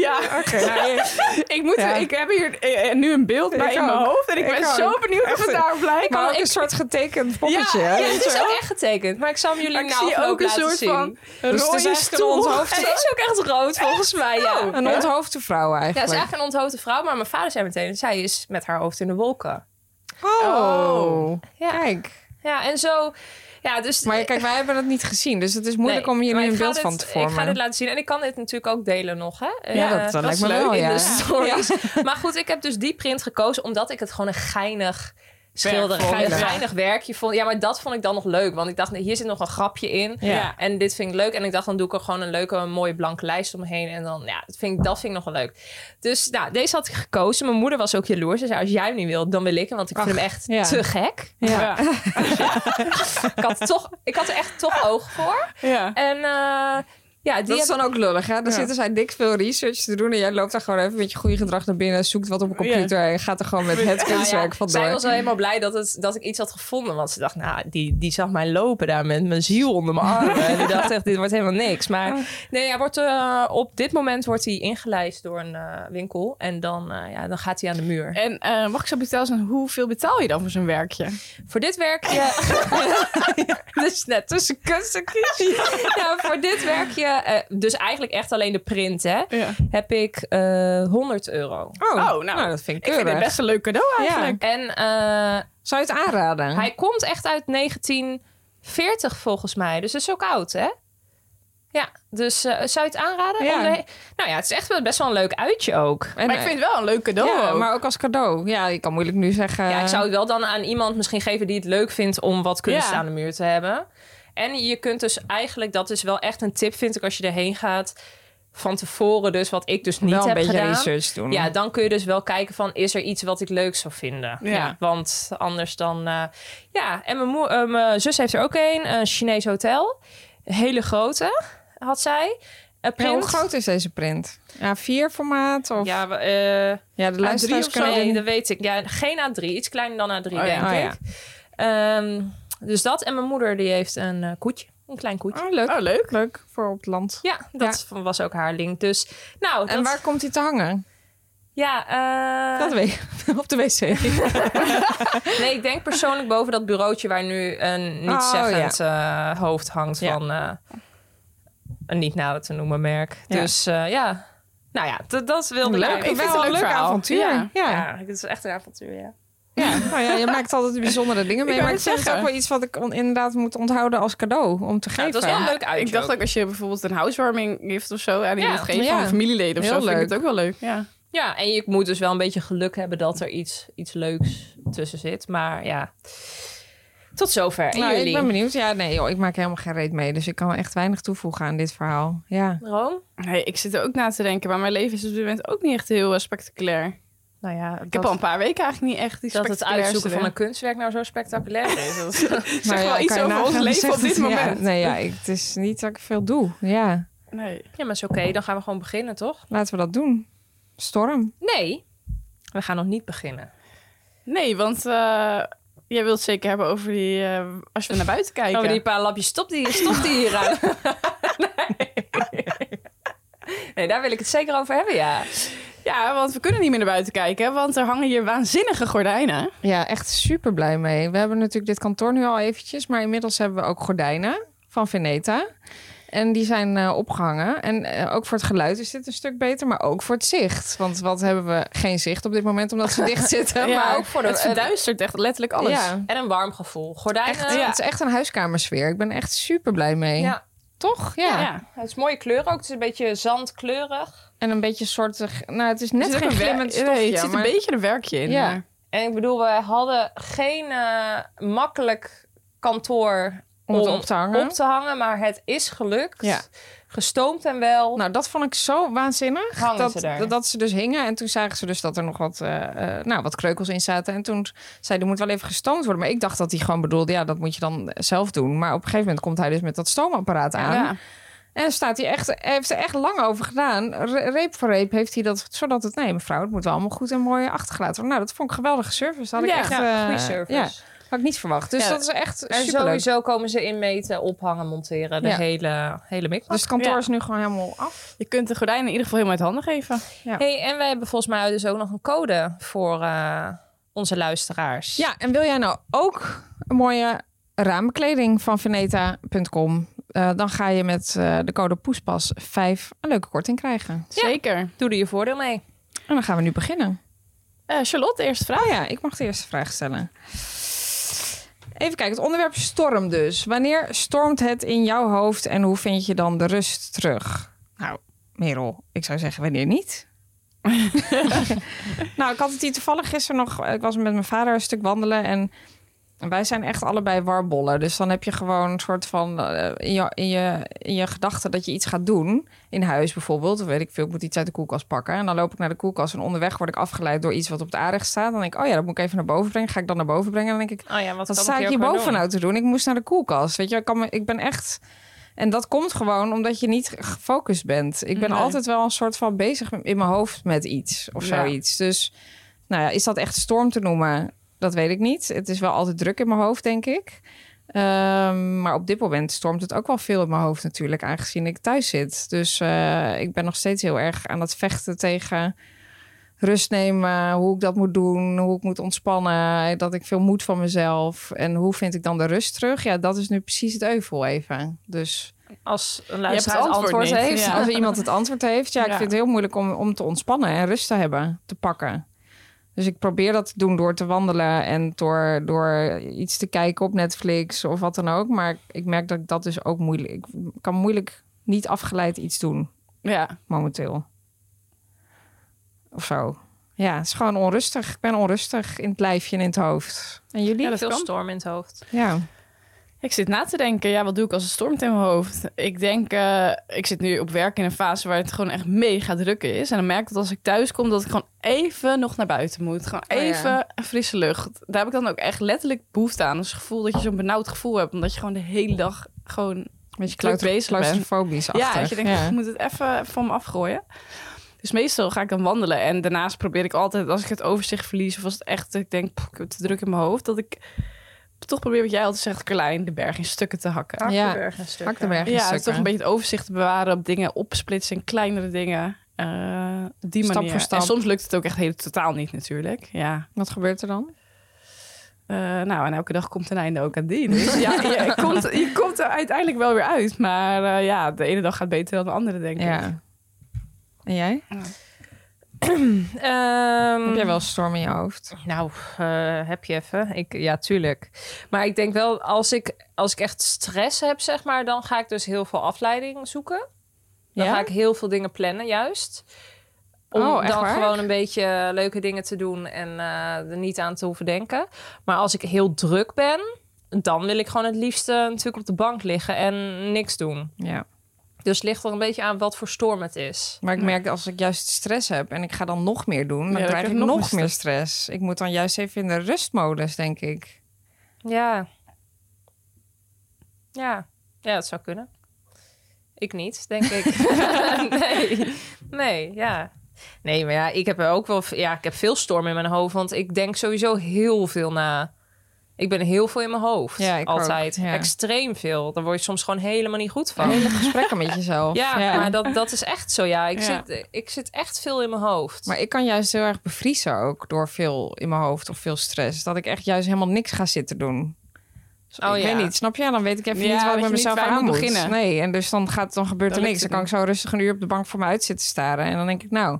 Speaker 2: Ja, oké. nou, ik, moet,
Speaker 3: Ja.
Speaker 2: ik heb hier eh, eh, nu een beeld bij
Speaker 3: Ik
Speaker 2: in mijn
Speaker 3: ook.
Speaker 2: hoofd. En ik,
Speaker 3: Ik
Speaker 2: ben
Speaker 3: ook.
Speaker 2: zo benieuwd of
Speaker 3: Echt.
Speaker 2: het daar blijkt.
Speaker 3: Maar ook
Speaker 4: ik-
Speaker 3: een soort getekend poppetje.
Speaker 2: Ja,
Speaker 3: hè?
Speaker 4: Ja, het is ook echt getekend, maar ik zal hem jullie
Speaker 2: Maar ik
Speaker 4: nou
Speaker 2: zie ook een
Speaker 4: laten
Speaker 2: soort
Speaker 4: zien.
Speaker 2: van
Speaker 3: Dus het is
Speaker 2: rode
Speaker 3: eigenlijk een
Speaker 2: stoel.
Speaker 3: onthoofd-
Speaker 4: Het is ook echt rood, volgens mij. Ja.
Speaker 2: Oh,
Speaker 3: Een onthoofde vrouw
Speaker 4: Ja, het is
Speaker 3: eigenlijk.
Speaker 4: eigenlijk een onthoofde vrouw, maar mijn vader zei meteen... zij is met haar hoofd in de wolken.
Speaker 3: Oh.
Speaker 4: Ja.
Speaker 3: Kijk.
Speaker 4: Ja, en zo... Ja, dus...
Speaker 3: Maar kijk, wij hebben dat niet gezien. Dus het is moeilijk
Speaker 4: Nee,
Speaker 3: om
Speaker 4: maar
Speaker 3: jullie
Speaker 4: ik
Speaker 3: een
Speaker 4: ga
Speaker 3: beeld
Speaker 4: dit-
Speaker 3: van te
Speaker 4: Ik ga
Speaker 3: vormen.
Speaker 4: dit laten zien. En ik kan dit natuurlijk ook delen nog, hè?
Speaker 3: Ja,
Speaker 4: Eh,
Speaker 3: dat, eh, lijkt me
Speaker 4: is
Speaker 3: wel,
Speaker 4: leuk
Speaker 3: ja.
Speaker 4: in de stories. Maar goed, ik heb dus die print gekozen... omdat ik het gewoon een geinig schilder,
Speaker 2: vond,
Speaker 4: een
Speaker 2: ja.
Speaker 4: geinig werkje vond. Ja, maar dat vond ik dan nog leuk. Want ik dacht, nee, hier zit nog een grapje in.
Speaker 2: Ja.
Speaker 4: En dit vind ik leuk. En ik dacht, dan doe ik er gewoon een leuke, mooie blanke lijst omheen. En dan, ja, dat vind ik, dat vind ik nog wel leuk. Dus nou, deze had ik gekozen. Mijn moeder was ook jaloers. Ze zei, als jij hem niet wilt, dan wil ik hem. Want ik vind hem echt
Speaker 3: ja.
Speaker 4: te gek.
Speaker 3: Ja.
Speaker 2: Ja.
Speaker 4: Ik had, toch, ik had er echt toch oog voor.
Speaker 2: Ja.
Speaker 4: En eh, ja, die
Speaker 3: Dat
Speaker 4: heb
Speaker 3: is dan ook lullig, hè? Dan zitten zij dik veel research te doen... en jij loopt daar gewoon even met je goede gedrag naar binnen... zoekt wat op een computer en gaat er gewoon met het
Speaker 4: Nou ja,
Speaker 3: kunstwerk
Speaker 4: Zij
Speaker 3: vandoor.
Speaker 4: was wel helemaal blij dat, het, dat ik iets had gevonden. Want ze dacht, nou, die, die zag mij lopen daar met mijn ziel onder mijn armen. en die dacht echt, dit wordt helemaal niks. Maar nee, hij wordt, eh, op dit moment wordt hij ingelijst door een eh, winkel. En dan, eh, ja, dan gaat hij aan de muur.
Speaker 2: En eh, mag ik zo betaald zijn, hoeveel betaal je dan voor zo'n werkje?
Speaker 4: Voor dit werkje... dus net tussen kunst en kies. Ja, voor dit werkje, eh, dus eigenlijk echt alleen de print, hè,
Speaker 2: Ja.
Speaker 4: heb ik eh 100 euro.
Speaker 3: Oh,
Speaker 2: nou,
Speaker 3: nou, dat vind ik
Speaker 2: Ik vind
Speaker 3: keurig.
Speaker 2: het best een leuk cadeau eigenlijk.
Speaker 4: En eh,
Speaker 3: Zou je het aanraden?
Speaker 4: Hij komt echt uit 1940 volgens mij. Dus dat is ook oud, hè? Ja, dus eh, zou je het aanraden?
Speaker 3: Ja.
Speaker 4: Om de- Nou ja, het is echt wel best wel een leuk uitje ook.
Speaker 3: En,
Speaker 2: maar ik vind het wel een leuk cadeau.
Speaker 3: ja,
Speaker 2: ook.
Speaker 3: maar ook als cadeau. Ja, je kan moeilijk nu zeggen...
Speaker 4: Ja, ik zou het wel dan aan iemand misschien geven die het leuk vindt om wat kunst
Speaker 2: Ja.
Speaker 4: aan de muur te hebben. En je kunt dus eigenlijk, dat is wel echt een tip, vind ik, als je erheen gaat. van tevoren dus, wat ik dus niet
Speaker 3: eh, wel een
Speaker 4: heb
Speaker 3: beetje
Speaker 4: gedaan.
Speaker 3: research doen.
Speaker 4: Ja, dan kun je dus wel kijken van, is er iets wat ik leuk zou vinden?
Speaker 2: Ja.
Speaker 4: Want anders dan... eh, ja, en mijn, moe- eh, mijn zus heeft er ook een, een Chinees hotel. Een hele grote had zij. Een
Speaker 3: Ja, hoe
Speaker 4: print.
Speaker 3: groot is deze print? Ja, vier formaat of? Ja,
Speaker 4: Ja, we- eh,
Speaker 3: de
Speaker 4: A3
Speaker 3: luisteraars
Speaker 4: of zo?
Speaker 3: kunnen...
Speaker 4: Nee, dat weet ik. Ja, geen A3. Iets kleiner dan A3,
Speaker 2: Oh ja.
Speaker 4: denk
Speaker 3: Oh ja.
Speaker 4: ik. Ehm, dus dat. En mijn moeder die heeft een eh, koetje. Een klein koetje.
Speaker 3: Oh, leuk.
Speaker 2: Oh, leuk.
Speaker 3: Leuk voor op het land.
Speaker 4: Ja, dat was ook haar link. Dus, nou,
Speaker 3: En
Speaker 4: dat-
Speaker 3: waar komt die te hangen?
Speaker 4: Ja, eh,
Speaker 3: Dat weet ik. Op de wc.
Speaker 4: Nee, ik denk persoonlijk boven dat bureautje waar nu een nietszeggend eh, hoofd hangt
Speaker 3: Ja.
Speaker 4: van eh, een niet nader te noemen merk.
Speaker 3: Ja.
Speaker 4: Dus eh, ja, nou ja, dat- dat wilde
Speaker 2: Leuk.
Speaker 4: ik.
Speaker 2: Ik vind het een leuk verhaal.
Speaker 3: avontuur.
Speaker 2: Ja.
Speaker 3: Ja.
Speaker 4: Ja.
Speaker 3: Ja.
Speaker 4: het is echt een avontuur, ja.
Speaker 3: Nou ja, je maakt altijd bijzondere dingen mee.
Speaker 2: wou
Speaker 3: maar ik
Speaker 2: het
Speaker 3: vind het ook
Speaker 2: zeggen.
Speaker 3: wel iets wat ik on- inderdaad moet onthouden als cadeau om te
Speaker 4: Nou,
Speaker 3: geven.
Speaker 4: dat is wel een leuk uitje
Speaker 2: Ik dacht
Speaker 4: ook.
Speaker 2: ook als je bijvoorbeeld een housewarming gift of zo aan iemand
Speaker 4: Ja.
Speaker 2: geeft
Speaker 3: Ja.
Speaker 2: van familieleden of
Speaker 3: Heel
Speaker 2: zo, vind ik
Speaker 3: leuk.
Speaker 2: het ook wel leuk. Ja.
Speaker 4: Ja, en je moet dus wel een beetje geluk hebben dat er iets, iets leuks tussen zit. Maar ja, tot zover. En
Speaker 3: Nou, ik
Speaker 4: jullie?
Speaker 3: ben benieuwd. Ja, nee, joh, ik maak helemaal geen reet mee. Dus ik kan echt weinig toevoegen aan dit verhaal. Ja.
Speaker 4: Room?
Speaker 2: Nee, ik zit er ook na te denken, maar mijn leven is op dit moment ook niet echt heel eh, spectaculair.
Speaker 4: Nou ja, dat,
Speaker 2: ik heb al een paar weken eigenlijk niet echt die
Speaker 4: dat het
Speaker 2: spectaculairste
Speaker 4: uitzoeken van
Speaker 2: dingen.
Speaker 4: een kunstwerk nou zo spectaculair is. Dat-
Speaker 2: Zeg
Speaker 3: Nou ja,
Speaker 2: wel iets
Speaker 3: kan je
Speaker 2: over
Speaker 3: nagaan,
Speaker 2: ons
Speaker 3: dan
Speaker 2: leven
Speaker 3: zegt
Speaker 2: op dit
Speaker 3: het- ja,
Speaker 2: moment.
Speaker 3: nee, ja, ik, het is niet dat ik veel doe. Ja,
Speaker 2: Nee.
Speaker 4: ja, maar is oké, dan gaan we gewoon beginnen, toch?
Speaker 3: laten we dat doen. Storm.
Speaker 4: Nee, we gaan nog niet beginnen.
Speaker 2: Nee, want eh, jij wilt het zeker hebben over die... eh, als we naar buiten kijken.
Speaker 3: eh,
Speaker 4: Oh, die paar lapjes, stop die, stop die hier aan. nee. nee, daar wil ik het zeker over hebben, ja.
Speaker 2: Ja, want we kunnen niet meer naar buiten kijken, want er hangen hier waanzinnige gordijnen.
Speaker 3: Ja, echt super blij mee. We hebben natuurlijk dit kantoor nu al eventjes, maar inmiddels hebben we ook gordijnen van Veneta. En die zijn eh, opgehangen. En eh, ook voor het geluid is dit een stuk beter, maar ook voor het zicht. Want wat hebben we geen zicht op dit moment, omdat ze dicht zitten.
Speaker 2: Ja,
Speaker 3: maar
Speaker 4: ook voor de-
Speaker 2: het verduistert echt letterlijk alles.
Speaker 3: Ja, eh,
Speaker 4: En een warm gevoel. Gordijnen.
Speaker 3: echt, het is echt een huiskamersfeer. Ik ben echt super blij mee.
Speaker 4: Ja.
Speaker 3: Toch? Ja.
Speaker 2: Ja.
Speaker 4: Het is mooie kleur ook. Het is een beetje zandkleurig.
Speaker 3: En een beetje soortig. Nou, het is
Speaker 2: Er
Speaker 3: net
Speaker 2: zit ook
Speaker 3: geen
Speaker 2: een wer-
Speaker 3: glimmend stofje.
Speaker 2: Nee, het zit
Speaker 3: maar-
Speaker 2: een beetje een werkje in.
Speaker 3: Ja.
Speaker 2: maar-
Speaker 4: En ik bedoel, we hadden geen eh, makkelijk kantoor
Speaker 3: om het op te hangen.
Speaker 4: op te hangen, maar het is gelukt.
Speaker 3: Ja.
Speaker 4: Gestoomd en wel.
Speaker 3: Nou, dat vond ik zo waanzinnig.
Speaker 4: Hangen
Speaker 3: dat,
Speaker 4: ze daar.
Speaker 3: dat, dat ze dus hingen. En toen zagen ze dus dat er nog wat, eh, eh, nou, wat kreukels in zaten. En toen zei die moet wel even gestoomd worden. Maar ik dacht dat hij gewoon bedoelde, ja, dat moet je dan zelf doen. Maar op een gegeven moment komt hij dus met dat stoomapparaat aan.
Speaker 2: Ja.
Speaker 3: En staat hij echt, hij heeft er echt lang over gedaan. Re- reep voor reep heeft hij dat, zodat het, nee mevrouw, het moet wel allemaal goed en mooi achtergelaten worden. Nou, dat vond ik een geweldige service. Dat had
Speaker 2: Ja,
Speaker 3: ik echt,
Speaker 4: Ja,
Speaker 3: eh,
Speaker 4: goede service.
Speaker 3: Ja, had ik niet verwacht. Dus
Speaker 2: Ja,
Speaker 3: dat is echt
Speaker 4: En
Speaker 3: superleuk.
Speaker 4: sowieso komen ze inmeten, ophangen, monteren. De
Speaker 3: Ja.
Speaker 4: hele, hele mikmak.
Speaker 3: Dus het kantoor
Speaker 2: Ja.
Speaker 3: is nu gewoon helemaal af.
Speaker 2: Je kunt de gordijnen in ieder geval helemaal uit handen geven.
Speaker 4: hey, en wij hebben volgens mij dus ook nog een code voor eh, onze luisteraars.
Speaker 3: Ja, en wil jij nou ook een mooie raambekleding van veneta.com? Eh, dan ga je met eh, de code Poespas 5 een leuke korting krijgen.
Speaker 2: Zeker.
Speaker 4: Doe er je voordeel mee.
Speaker 3: En dan gaan we nu beginnen.
Speaker 2: Eh, Charlotte, eerst vraag.
Speaker 3: Oh ja, ik mag de eerste vraag stellen. Even kijken, het onderwerp storm dus. Wanneer stormt het in jouw hoofd en hoe vind je dan de rust terug? Nou, Merel, ik zou zeggen wanneer niet. nou, ik had het hier toevallig gisteren nog... eh, Ik was met mijn vader een stuk wandelen en wij zijn echt allebei warbollen. Dus dan heb je gewoon een soort van eh, in, je, in, je, in je gedachten dat je iets gaat doen. In huis bijvoorbeeld, of weet ik veel, ik moet iets uit de koelkast pakken. En dan loop ik naar de koelkast en onderweg word ik afgeleid door iets wat op de aanrecht staat. Dan denk ik, oh ja, dat moet ik even naar boven brengen. Ga ik dan naar boven brengen? En dan denk ik,
Speaker 4: Oh ja, wat,
Speaker 3: wat
Speaker 4: kan
Speaker 3: sta
Speaker 4: ik
Speaker 3: ik hier
Speaker 4: hier ook weer
Speaker 3: boven
Speaker 4: doen?
Speaker 3: nou te doen? Ik moest naar de koelkast. Weet je, ik, kan me, ik ben echt... En dat komt gewoon omdat je niet gefocust bent. Ik ben
Speaker 2: Nee.
Speaker 3: altijd wel een soort van bezig in mijn hoofd met iets of
Speaker 2: Ja.
Speaker 3: zoiets. Dus nou ja, is dat echt storm te noemen? Dat weet ik niet. Het is wel altijd druk in mijn hoofd, denk ik. Ehm, maar op dit moment stormt het ook wel veel in mijn hoofd natuurlijk, aangezien ik thuis zit. Dus eh, ik ben nog steeds heel erg aan het vechten tegen rust nemen, hoe ik dat moet doen, hoe ik moet ontspannen, dat ik veel moet van mezelf en hoe vind ik dan de rust terug? Ja, dat is nu precies het euvel even. Dus
Speaker 4: Als een
Speaker 2: hebt het
Speaker 4: luisteraar het
Speaker 2: antwoord
Speaker 4: antwoord,
Speaker 2: niet.
Speaker 4: heeft.
Speaker 2: Ja.
Speaker 3: als er iemand het antwoord heeft, ja, ik
Speaker 2: Ja.
Speaker 3: vind het heel moeilijk om, om te ontspannen en rust te hebben, te pakken. Dus ik probeer dat te doen door te wandelen en door, door iets te kijken op Netflix of wat dan ook. Maar ik merk dat ik dat dus ook moeilijk... Ik kan moeilijk niet afgeleid iets doen
Speaker 2: Ja.
Speaker 3: momenteel. Of zo. Ja, het is gewoon onrustig. Ik ben onrustig in het lijfje en in het hoofd. En jullie?
Speaker 2: Ja,
Speaker 3: Ja.
Speaker 2: dat
Speaker 4: Veel
Speaker 2: kan.
Speaker 4: storm in het hoofd.
Speaker 3: ja.
Speaker 2: Ik zit na te denken, ja, wat doe ik als het stormt in mijn hoofd? Ik denk, eh, ik zit nu op werk in een fase waar het gewoon echt mega druk is. En dan merk ik dat als ik thuis kom, dat ik gewoon even nog naar buiten moet. Gewoon
Speaker 3: Oh ja.
Speaker 2: even een frisse lucht. Daar heb ik dan ook echt letterlijk behoefte aan. Dus het gevoel dat je zo'n benauwd gevoel hebt, omdat je gewoon de hele dag gewoon...
Speaker 3: Weet je,
Speaker 2: Druk
Speaker 3: claustro-
Speaker 2: bezig bent.
Speaker 3: claustrofobisch achter.
Speaker 2: Ja, dat je denkt, ik moet het even van me afgooien. Dus meestal ga ik dan wandelen. En daarnaast probeer ik altijd, als ik het overzicht verlies... of als het echt, ik denk, pff, ik heb te druk in mijn hoofd... dat ik toch probeer, wat jij altijd zegt, Carlijn... de berg in stukken te hakken.
Speaker 4: Hakkenberg en stukken.
Speaker 3: Hakkenberg in
Speaker 2: Ja,
Speaker 3: stukken.
Speaker 2: dus toch een beetje het overzicht te bewaren op dingen, opsplitsen in kleinere dingen. eh, op die
Speaker 3: Stap
Speaker 2: manier.
Speaker 3: voor stap.
Speaker 2: En soms lukt het ook echt heel, totaal niet natuurlijk. Ja.
Speaker 3: Wat gebeurt er dan?
Speaker 2: Eh, nou, en elke dag komt een einde ook aan die. Dus ja, je, komt, je komt er uiteindelijk wel weer uit. Maar eh, ja, de ene dag gaat beter dan de andere, denk ik.
Speaker 3: Ja. En jij?
Speaker 4: Ehm,
Speaker 3: Heb jij wel een storm in je hoofd?
Speaker 4: Nou, eh, heb je even. Ik, ja, tuurlijk. Maar ik denk wel, als ik, als ik echt stress heb, zeg maar, dan ga ik dus heel veel afleiding zoeken. Dan
Speaker 3: Ja?
Speaker 4: ga ik heel veel dingen plannen, juist. Om
Speaker 3: Oh, echt
Speaker 4: dan
Speaker 3: waar?
Speaker 4: gewoon een beetje leuke dingen te doen en eh, er niet aan te hoeven denken. Maar als ik heel druk ben, dan wil ik gewoon het liefste natuurlijk op de bank liggen en niks doen.
Speaker 3: Ja.
Speaker 4: Dus het ligt er een beetje aan wat voor storm het is.
Speaker 3: Maar ik merk dat als ik juist stress heb en ik ga dan nog meer doen,
Speaker 2: Ja,
Speaker 3: dan
Speaker 2: dan
Speaker 3: krijg
Speaker 2: krijg
Speaker 3: ik
Speaker 2: je nog
Speaker 3: nog
Speaker 2: meer
Speaker 3: meer stress. Ik moet dan juist even in de rustmodus, denk ik.
Speaker 4: Ja. Ja. Ja, dat zou kunnen. Ik niet, denk ik. nee. Nee, ja. Nee, maar ja, ik heb er ook wel... Ja, ik heb veel storm in mijn hoofd, want ik denk sowieso heel veel na. Ik ben heel veel in mijn hoofd.
Speaker 3: Ja, ik
Speaker 4: altijd.
Speaker 3: ook, ja.
Speaker 4: Extreem veel. Daar word je soms gewoon helemaal niet goed van.
Speaker 3: Hele gesprekken met jezelf.
Speaker 4: Ja, maar dat, dat is echt zo, ja. Ik,
Speaker 2: Ja.
Speaker 4: Zit, ik zit echt veel in mijn hoofd.
Speaker 3: Maar ik kan juist heel erg bevriezen ook door veel in mijn hoofd of veel stress. Dat ik echt juist helemaal niks ga zitten doen. Dus
Speaker 4: Oh
Speaker 3: ik
Speaker 4: ja.
Speaker 3: weet niet, snap je? Dan weet ik even
Speaker 2: Ja,
Speaker 3: niet waar
Speaker 2: dat
Speaker 3: ik met
Speaker 2: je niet
Speaker 3: mezelf
Speaker 2: waar je
Speaker 3: aan
Speaker 2: moet
Speaker 3: moet
Speaker 2: beginnen.
Speaker 3: Nee, en dus dan, gaat, dan gebeurt
Speaker 2: Dan
Speaker 3: er
Speaker 2: lukt
Speaker 3: niks. Dan
Speaker 2: het
Speaker 3: kan ik zo rustig een uur op de bank voor me uit zitten staren. En dan denk ik, nou,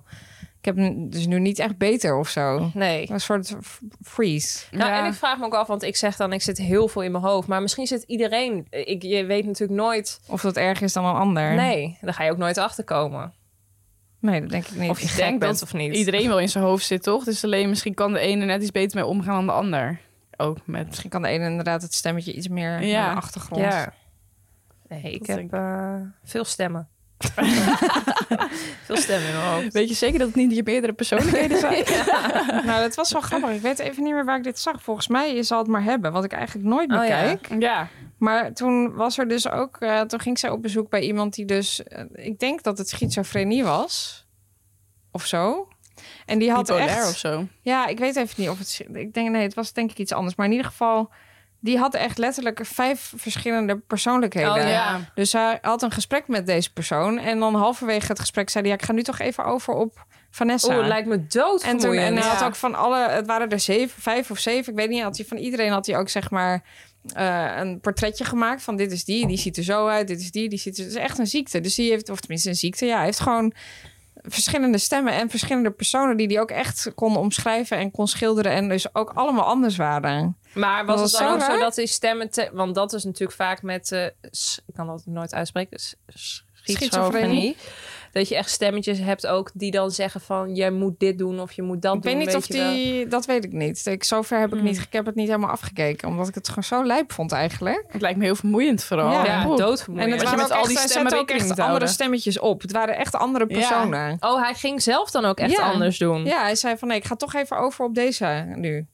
Speaker 3: ik heb n- dus nu niet echt beter of zo.
Speaker 4: Nee.
Speaker 3: Een soort f- freeze.
Speaker 4: Nou,
Speaker 2: Ja.
Speaker 4: en ik vraag me ook af, want ik zeg dan, ik zit heel veel in mijn hoofd. Maar misschien zit iedereen, ik, je weet natuurlijk nooit.
Speaker 3: Of dat erger is dan een ander.
Speaker 4: Nee, daar ga je ook nooit achter komen.
Speaker 3: Nee, dat denk ik niet.
Speaker 4: Of je gek
Speaker 2: denkt
Speaker 4: bent
Speaker 2: dat
Speaker 4: of niet.
Speaker 2: Iedereen wel in zijn hoofd zit, toch? Dus alleen misschien kan de ene net iets beter mee omgaan dan de ander. Ook met...
Speaker 3: Misschien kan de ene inderdaad het stemmetje iets meer
Speaker 2: Ja.
Speaker 3: naar de achtergrond.
Speaker 4: Ja. Nee, ik
Speaker 2: Dat
Speaker 4: heb
Speaker 2: denk
Speaker 4: eh, veel stemmen. veel stemmen in mijn hoofd.
Speaker 2: Weet je zeker dat het niet je meerdere persoonlijkheden zijn?
Speaker 3: Nou, dat was wel grappig. Ik weet even niet meer waar ik dit zag. Volgens mij, je zal het maar hebben, wat ik eigenlijk nooit
Speaker 4: Oh,
Speaker 3: meer
Speaker 4: ja.
Speaker 3: kijk.
Speaker 2: ja.
Speaker 3: Maar toen was er dus ook, eh, toen ging zij op bezoek bij iemand die dus, eh, ik denk dat het schizofrenie was, of zo. En die had
Speaker 2: Bipolair
Speaker 3: echt,
Speaker 2: of zo.
Speaker 3: ja, ik weet even niet of het, schi- ik denk nee, het was denk ik iets anders. Maar in ieder geval, die had echt letterlijk vijf verschillende persoonlijkheden.
Speaker 4: Oh, ja.
Speaker 3: Dus hij had een gesprek met deze persoon en dan halverwege het gesprek zei hij, ja, ik ga nu toch even over op Vanessa.
Speaker 4: Oeh, Oh, het lijkt me dood
Speaker 3: En, toen, en hij had
Speaker 2: Ja.
Speaker 3: ook van alle, het waren er zeven, vijf of zeven, ik weet niet, had hij van iedereen had hij ook zeg maar eh, een portretje gemaakt van dit is die, die ziet er zo uit, dit is die, die ziet er. Het is echt een ziekte. Dus die heeft, of tenminste een ziekte, ja, hij heeft gewoon verschillende stemmen en verschillende personen die die ook echt kon omschrijven en kon schilderen en dus ook allemaal anders waren.
Speaker 4: Maar was,
Speaker 3: Was
Speaker 4: het
Speaker 3: het
Speaker 4: dan
Speaker 3: zo
Speaker 4: ook zo
Speaker 3: raar?
Speaker 4: dat die stemmen... te- want dat is natuurlijk vaak met... eh, s- ik kan dat nooit uitspreken. s- Schizofrenie.
Speaker 3: Schizofrenie.
Speaker 4: Dat je echt stemmetjes hebt ook die dan zeggen van... jij moet dit doen of je moet dat
Speaker 3: Ik
Speaker 4: doen.
Speaker 3: weet niet of
Speaker 4: je wel.
Speaker 3: die, dat weet ik niet. Ik, zover heb
Speaker 2: Hmm.
Speaker 3: ik niet, ik heb het niet helemaal afgekeken, omdat ik het gewoon zo lijp vond eigenlijk.
Speaker 2: Het lijkt me heel vermoeiend vooral.
Speaker 3: Ja,
Speaker 4: Ja,
Speaker 2: Oeh.
Speaker 4: doodvermoeiend.
Speaker 3: En het
Speaker 2: je
Speaker 3: waren
Speaker 2: met
Speaker 3: ook
Speaker 2: al
Speaker 3: echt,
Speaker 2: die
Speaker 3: hij
Speaker 2: stemmen
Speaker 3: zette
Speaker 2: rekening
Speaker 3: ook echt
Speaker 2: moet
Speaker 3: andere
Speaker 2: houden.
Speaker 3: stemmetjes op. Het waren echt andere
Speaker 2: Ja.
Speaker 3: personen.
Speaker 4: Oh, hij ging zelf dan ook echt
Speaker 3: Ja.
Speaker 4: anders doen.
Speaker 3: Ja, hij zei van nee, ik ga toch even over op deze nu.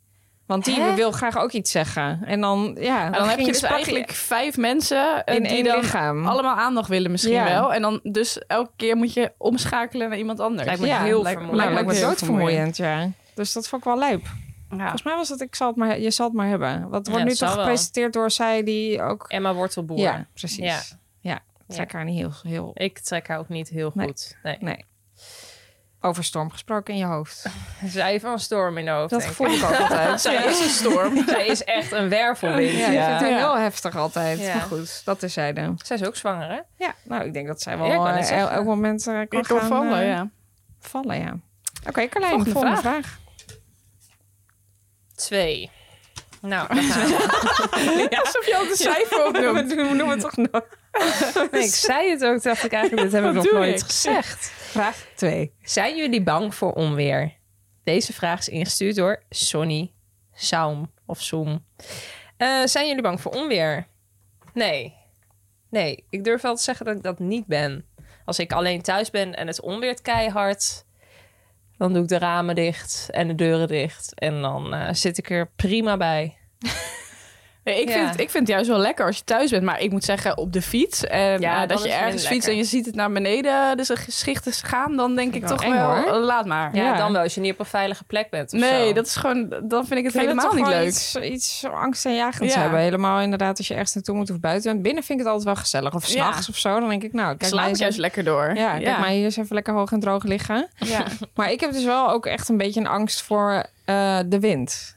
Speaker 3: Want die
Speaker 4: Hè?
Speaker 3: wil graag ook iets zeggen. En dan, ja,
Speaker 2: En dan heb je
Speaker 3: ging
Speaker 2: dus
Speaker 3: sprak-
Speaker 2: eigenlijk vijf mensen eh,
Speaker 3: in
Speaker 2: die
Speaker 3: één
Speaker 2: dan
Speaker 3: lichaam.
Speaker 2: allemaal aandacht willen misschien
Speaker 3: Ja.
Speaker 2: wel. En dan dus elke keer moet je omschakelen naar iemand anders.
Speaker 4: Lijkt me
Speaker 3: Ja,
Speaker 4: heel
Speaker 2: lijkt-
Speaker 3: Nou,
Speaker 4: vermoeiend.
Speaker 2: lijkt me
Speaker 3: lijkt me
Speaker 2: heel
Speaker 3: doodvermoeiend, ja. Dus dat vond ik wel lijp.
Speaker 2: Ja.
Speaker 3: Volgens mij was dat ik zal het maar, he- je zal het maar hebben. Wat wordt
Speaker 4: Ja,
Speaker 3: nu
Speaker 4: dat
Speaker 3: toch
Speaker 4: zal wel.
Speaker 3: gepresenteerd door zij die ook...
Speaker 4: Emma Wortelboer.
Speaker 3: Ja, precies.
Speaker 4: Ja.
Speaker 3: Ja, trek haar niet heel, heel
Speaker 4: Ik trek haar ook niet heel
Speaker 3: Nee.
Speaker 4: goed. Nee.
Speaker 3: Nee. over storm gesproken in je hoofd.
Speaker 4: Zij heeft wel een storm in de hoofd,
Speaker 3: Dat
Speaker 4: denk
Speaker 3: voel
Speaker 4: ik.
Speaker 3: ik ook altijd.
Speaker 4: Zij is een storm. Zij is echt een wervelwind.
Speaker 3: Ja,
Speaker 4: Ja,
Speaker 3: ik vind het heel heftig altijd.
Speaker 4: Ja.
Speaker 3: Maar goed, dat is zij dan.
Speaker 4: Zij is ook zwanger, hè?
Speaker 3: Ja, nou, ik denk dat zij wel
Speaker 4: Ja, ik wou net
Speaker 3: eh, el-
Speaker 4: zeggen.
Speaker 3: elk moment eh, kan
Speaker 2: Ik kan
Speaker 3: gaan,
Speaker 2: vallen,
Speaker 3: eh,
Speaker 2: ja.
Speaker 3: vallen, ja. Oké, Carlijn,
Speaker 2: Volgende
Speaker 3: volgende, vraag.
Speaker 4: Twee. Nou, daar gaan we.
Speaker 2: Alsof je ook de cijfer opnoemt.
Speaker 3: We noemen het toch nog.
Speaker 4: ik zei het ook, dacht ik eigenlijk, dit heb ik
Speaker 2: Wat
Speaker 4: nog
Speaker 2: doe
Speaker 4: nooit
Speaker 2: ik?
Speaker 4: gezegd.
Speaker 3: Vraag 2.
Speaker 4: Zijn jullie bang voor onweer? Deze vraag is ingestuurd door Sonny Saum of Zoom. Eh, zijn jullie bang voor onweer? Nee. Nee, ik durf wel te zeggen dat ik dat niet ben. Als ik alleen thuis ben en het onweert keihard, dan doe ik de ramen dicht en de deuren dicht. En dan eh, zit ik er prima bij.
Speaker 2: Nee, ik,
Speaker 4: Ja.
Speaker 2: vind, ik vind het juist wel lekker als je thuis bent. Maar ik moet zeggen, op de fiets. En
Speaker 4: Ja,
Speaker 2: eh,
Speaker 4: dan
Speaker 2: dat je
Speaker 4: is het
Speaker 2: ergens
Speaker 4: minder
Speaker 2: fietst en je
Speaker 4: lekker.
Speaker 2: ziet het naar beneden. Dus er geschichten gaan. Dan denk ik
Speaker 3: ik
Speaker 2: toch
Speaker 3: wel eng,
Speaker 2: wel,
Speaker 3: hoor.
Speaker 2: eh, laat maar.
Speaker 4: Ja,
Speaker 3: Ja.
Speaker 4: dan wel als je niet op een veilige plek bent. of
Speaker 2: Nee,
Speaker 4: zo.
Speaker 2: dat is gewoon, dan vind ik het
Speaker 3: Ik vind
Speaker 2: helemaal
Speaker 3: het
Speaker 2: niet
Speaker 3: toch wel
Speaker 2: leuk.
Speaker 3: Iets, eh, iets zo angstaanjagends
Speaker 2: Ja.
Speaker 3: hebben. Helemaal inderdaad, als je ergens naartoe moet of buiten bent. Binnen vind ik het altijd wel gezellig. Of
Speaker 2: Ja.
Speaker 3: s'nachts of zo. Dan denk ik, nou,
Speaker 2: Ik
Speaker 3: kijk,
Speaker 2: slaap
Speaker 3: mij
Speaker 2: het
Speaker 3: eens
Speaker 2: juist lekker
Speaker 3: even,
Speaker 2: door.
Speaker 3: ja, kijk mij hier eens even lekker hoog en droog liggen.
Speaker 2: Ja.
Speaker 3: Maar ik heb dus wel ook echt een beetje een angst voor eh, de wind.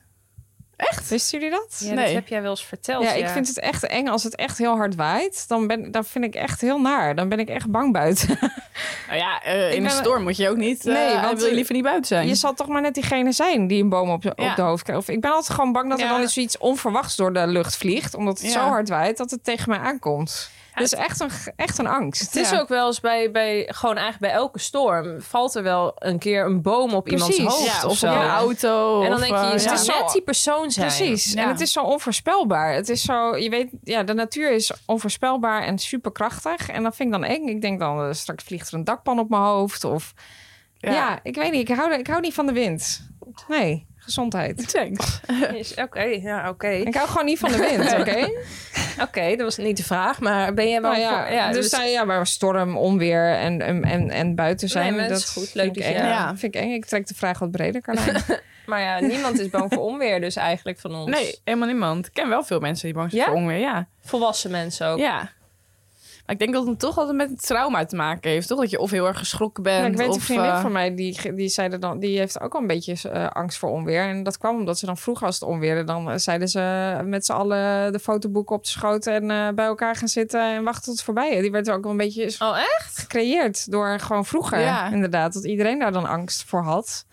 Speaker 3: Echt? Wisten jullie dat?
Speaker 4: Ja,
Speaker 2: Nee.
Speaker 4: dat heb jij wel eens verteld.
Speaker 3: Ja, ik vind het echt eng als het echt heel hard waait. Dan, ben, dan vind ik echt heel naar. Dan ben ik echt bang buiten.
Speaker 2: Nou ja, eh, in een
Speaker 3: ben-
Speaker 2: storm moet je ook niet.
Speaker 3: Nee,
Speaker 2: nee,
Speaker 3: want-
Speaker 2: wil je liever niet buiten zijn.
Speaker 3: Je zal toch maar net diegene zijn die een boom op, op
Speaker 2: Ja.
Speaker 3: de hoofd krijgt. Of ik ben altijd gewoon bang dat er
Speaker 4: Ja.
Speaker 3: dan eens iets onverwachts door de lucht vliegt. Omdat het
Speaker 2: Ja.
Speaker 3: zo hard waait dat het tegen mij aankomt. dus echt een, echt een angst.
Speaker 4: Het is
Speaker 3: Ja.
Speaker 4: ook wel eens bij, bij, gewoon eigenlijk bij elke storm, valt er wel een keer een boom op
Speaker 3: Precies.
Speaker 4: iemands hoofd
Speaker 2: ja,
Speaker 4: of
Speaker 2: of
Speaker 4: zo.
Speaker 2: op een auto.
Speaker 4: En dan
Speaker 2: of,
Speaker 4: denk je, nou,
Speaker 2: eh,
Speaker 4: je
Speaker 2: ja.
Speaker 4: moet
Speaker 3: zo-
Speaker 4: net die persoon zijn.
Speaker 3: Precies.
Speaker 2: Ja.
Speaker 3: En het is zo onvoorspelbaar. Het is zo, je weet, ja, de natuur is onvoorspelbaar en superkrachtig. En dat vind ik dan eng. Ik denk dan, eh, straks vliegt er een dakpan op mijn hoofd. Of ja, ik weet niet. Ik hou, ik hou niet van de wind. Nee, gezondheid.
Speaker 2: Thanks.
Speaker 4: Is- Oké, ja, oké.
Speaker 3: Ik hou gewoon niet van de wind, oké?
Speaker 4: Oké, dat was niet de vraag, maar ben jij wel...
Speaker 3: Nou ja,
Speaker 4: voor- ja,
Speaker 3: dus,
Speaker 4: dus-
Speaker 3: nou ja, maar storm, onweer en, en, en, en buiten zijn.
Speaker 4: maar dat is goed. Leuk
Speaker 3: vind ik
Speaker 4: dat je-
Speaker 3: eng.
Speaker 2: Ja.
Speaker 3: vind ik eng. Ik trek de vraag wat breder, Carlijn.
Speaker 4: Maar ja, niemand is bang voor onweer dus eigenlijk van ons.
Speaker 2: Nee, helemaal niemand. Ik ken wel veel mensen die bang zijn
Speaker 4: Ja?
Speaker 2: voor onweer. Ja.
Speaker 4: Volwassen mensen
Speaker 3: Oh.
Speaker 4: ook.
Speaker 2: ja. Maar ik denk dat het toch altijd met het trauma te maken heeft. Toch dat je of heel erg geschrokken bent.
Speaker 3: Ja, ik weet
Speaker 2: of,
Speaker 3: een vriendin
Speaker 2: eh,
Speaker 3: van mij, die, die, zeiden dan, die heeft ook al een beetje eh, angst voor onweer. En dat kwam omdat ze dan vroeg als het onweerde, dan eh, zeiden ze met z'n allen de fotoboeken op de schoot en eh, bij elkaar gaan zitten en wachten tot het voorbij. is. Die werd ook wel een beetje
Speaker 4: Oh, echt?
Speaker 3: gecreëerd door gewoon vroeger.
Speaker 2: Ja.
Speaker 3: Inderdaad, dat iedereen daar dan angst voor had.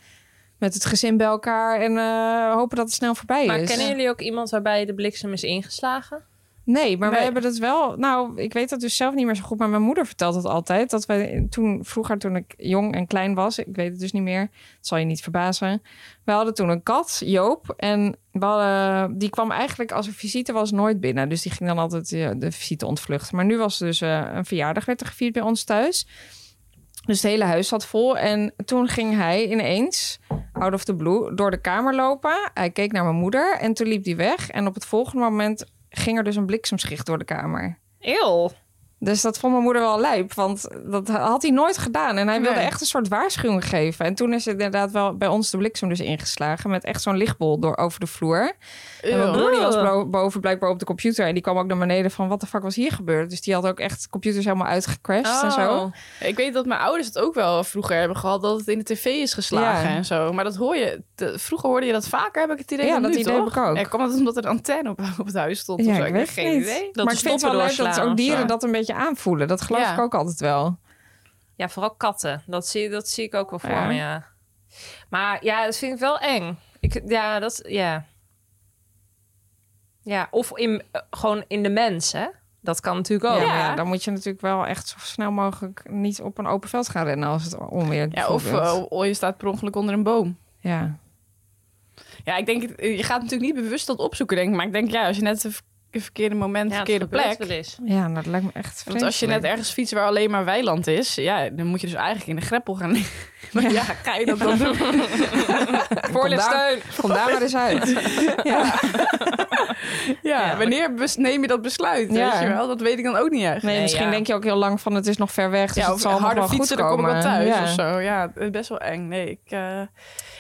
Speaker 3: Met het gezin bij elkaar en eh, hopen dat het snel voorbij
Speaker 4: Maar
Speaker 3: is.
Speaker 4: kennen jullie ook iemand waarbij de bliksem is ingeslagen?
Speaker 3: Nee, maar wij
Speaker 2: Nee.
Speaker 3: hebben dat wel. Nou, ik weet dat dus zelf niet meer zo goed, maar mijn moeder vertelt dat altijd. Dat wij toen, vroeger toen ik jong en klein was, ik weet het dus niet meer, het zal je niet verbazen. We hadden toen een kat, Joop, en we hadden- die kwam eigenlijk als er visite was nooit binnen. Dus die ging dan altijd eh, de visite ontvluchten. Maar nu was er dus eh, een verjaardag, werd er gevierd bij ons thuis. Dus het hele huis zat vol. En toen ging hij ineens, out of the blue, door de kamer lopen. Hij keek naar mijn moeder en toen liep hij weg. En op het volgende moment ging er dus een bliksemschicht door de kamer.
Speaker 4: Eeuw.
Speaker 3: Dus dat vond mijn moeder wel lijp, want dat had hij nooit gedaan. En hij wilde
Speaker 2: Nee.
Speaker 3: echt een soort waarschuwing geven. En toen is het inderdaad wel bij ons de bliksem dus ingeslagen... met echt zo'n lichtbol door over de vloer. En mijn
Speaker 2: eeuw.
Speaker 3: broer die was blo- boven blijkbaar op de computer... en die kwam ook naar beneden van, wat de fuck was hier gebeurd? Dus die had ook echt computers helemaal uitgecrashed en
Speaker 2: Oh.
Speaker 3: zo.
Speaker 2: Ik weet dat mijn ouders het ook wel vroeger hebben gehad. Dat het in de tv is geslagen
Speaker 3: Ja.
Speaker 2: en zo. Maar dat hoor je. te- vroeger hoorde je dat vaker, heb ik het idee.
Speaker 3: Ja,
Speaker 2: dan
Speaker 3: dat
Speaker 2: nu,
Speaker 3: idee heb
Speaker 2: toch?
Speaker 3: ik ook.
Speaker 2: Ja, kwam dat omdat er een antenne op, op het huis stond? of
Speaker 3: Ja,
Speaker 2: zo?
Speaker 3: ik
Speaker 2: heb
Speaker 3: weet
Speaker 2: geen
Speaker 3: het niet.
Speaker 2: idee.
Speaker 4: Dat
Speaker 3: maar ik
Speaker 4: de
Speaker 3: vind het
Speaker 4: stoppen
Speaker 3: wel leuk dat
Speaker 4: doorslaan
Speaker 3: ook
Speaker 4: of zo.
Speaker 3: dieren dat een beetje aanvoelen. Dat geloof
Speaker 2: Ja.
Speaker 3: ik ook altijd wel.
Speaker 4: Ja, vooral katten. Dat zie, dat zie ik ook wel voor
Speaker 3: Ja.
Speaker 4: me, ja. Maar ja, dat vind ik wel eng. Ik, ja, dat... Ja. Ja, of in, eh, gewoon in de mens, hè? Dat kan natuurlijk
Speaker 2: Oh.
Speaker 3: ja.
Speaker 4: ook.
Speaker 3: maar ja, dan moet je natuurlijk wel echt zo snel mogelijk... niet op een open veld gaan rennen als het onweer
Speaker 2: Ja, of
Speaker 3: bijvoorbeeld.
Speaker 2: eh, of je staat per ongeluk onder een boom.
Speaker 3: Ja.
Speaker 2: Ja, ik denk, het- je gaat natuurlijk niet bewust dat opzoeken, denk ik. Maar ik denk, ja, als je net een ver- verkeerde moment,
Speaker 4: Ja, het
Speaker 2: verkeerde
Speaker 4: gebeurt
Speaker 2: plek.
Speaker 4: wel eens.
Speaker 3: Ja, nou, dat lijkt me echt
Speaker 2: Want als je net ergens fietst waar alleen maar weiland is, ja, dan moet je dus eigenlijk in de greppel gaan liggen. Maar ja, ga je dat dan doen?
Speaker 4: Voorlichtsteun.
Speaker 3: Kom daar maar eens uit. ja.
Speaker 2: Ja,
Speaker 4: Ja.
Speaker 2: wanneer bes- neem je dat besluit?
Speaker 3: Ja.
Speaker 2: Weet je wel? Dat weet ik dan ook niet echt.
Speaker 3: Nee,
Speaker 4: Nee,
Speaker 3: misschien
Speaker 4: ja.
Speaker 3: denk je ook heel lang van het is nog ver weg, dus
Speaker 2: ja,
Speaker 3: het
Speaker 2: of
Speaker 3: zal nog
Speaker 2: harder
Speaker 3: wel goed
Speaker 2: fietsen, dan
Speaker 3: komen.
Speaker 2: kom ik wel thuis
Speaker 3: ja.
Speaker 2: of zo. Ja, het is best wel eng. Nee, ik, eh,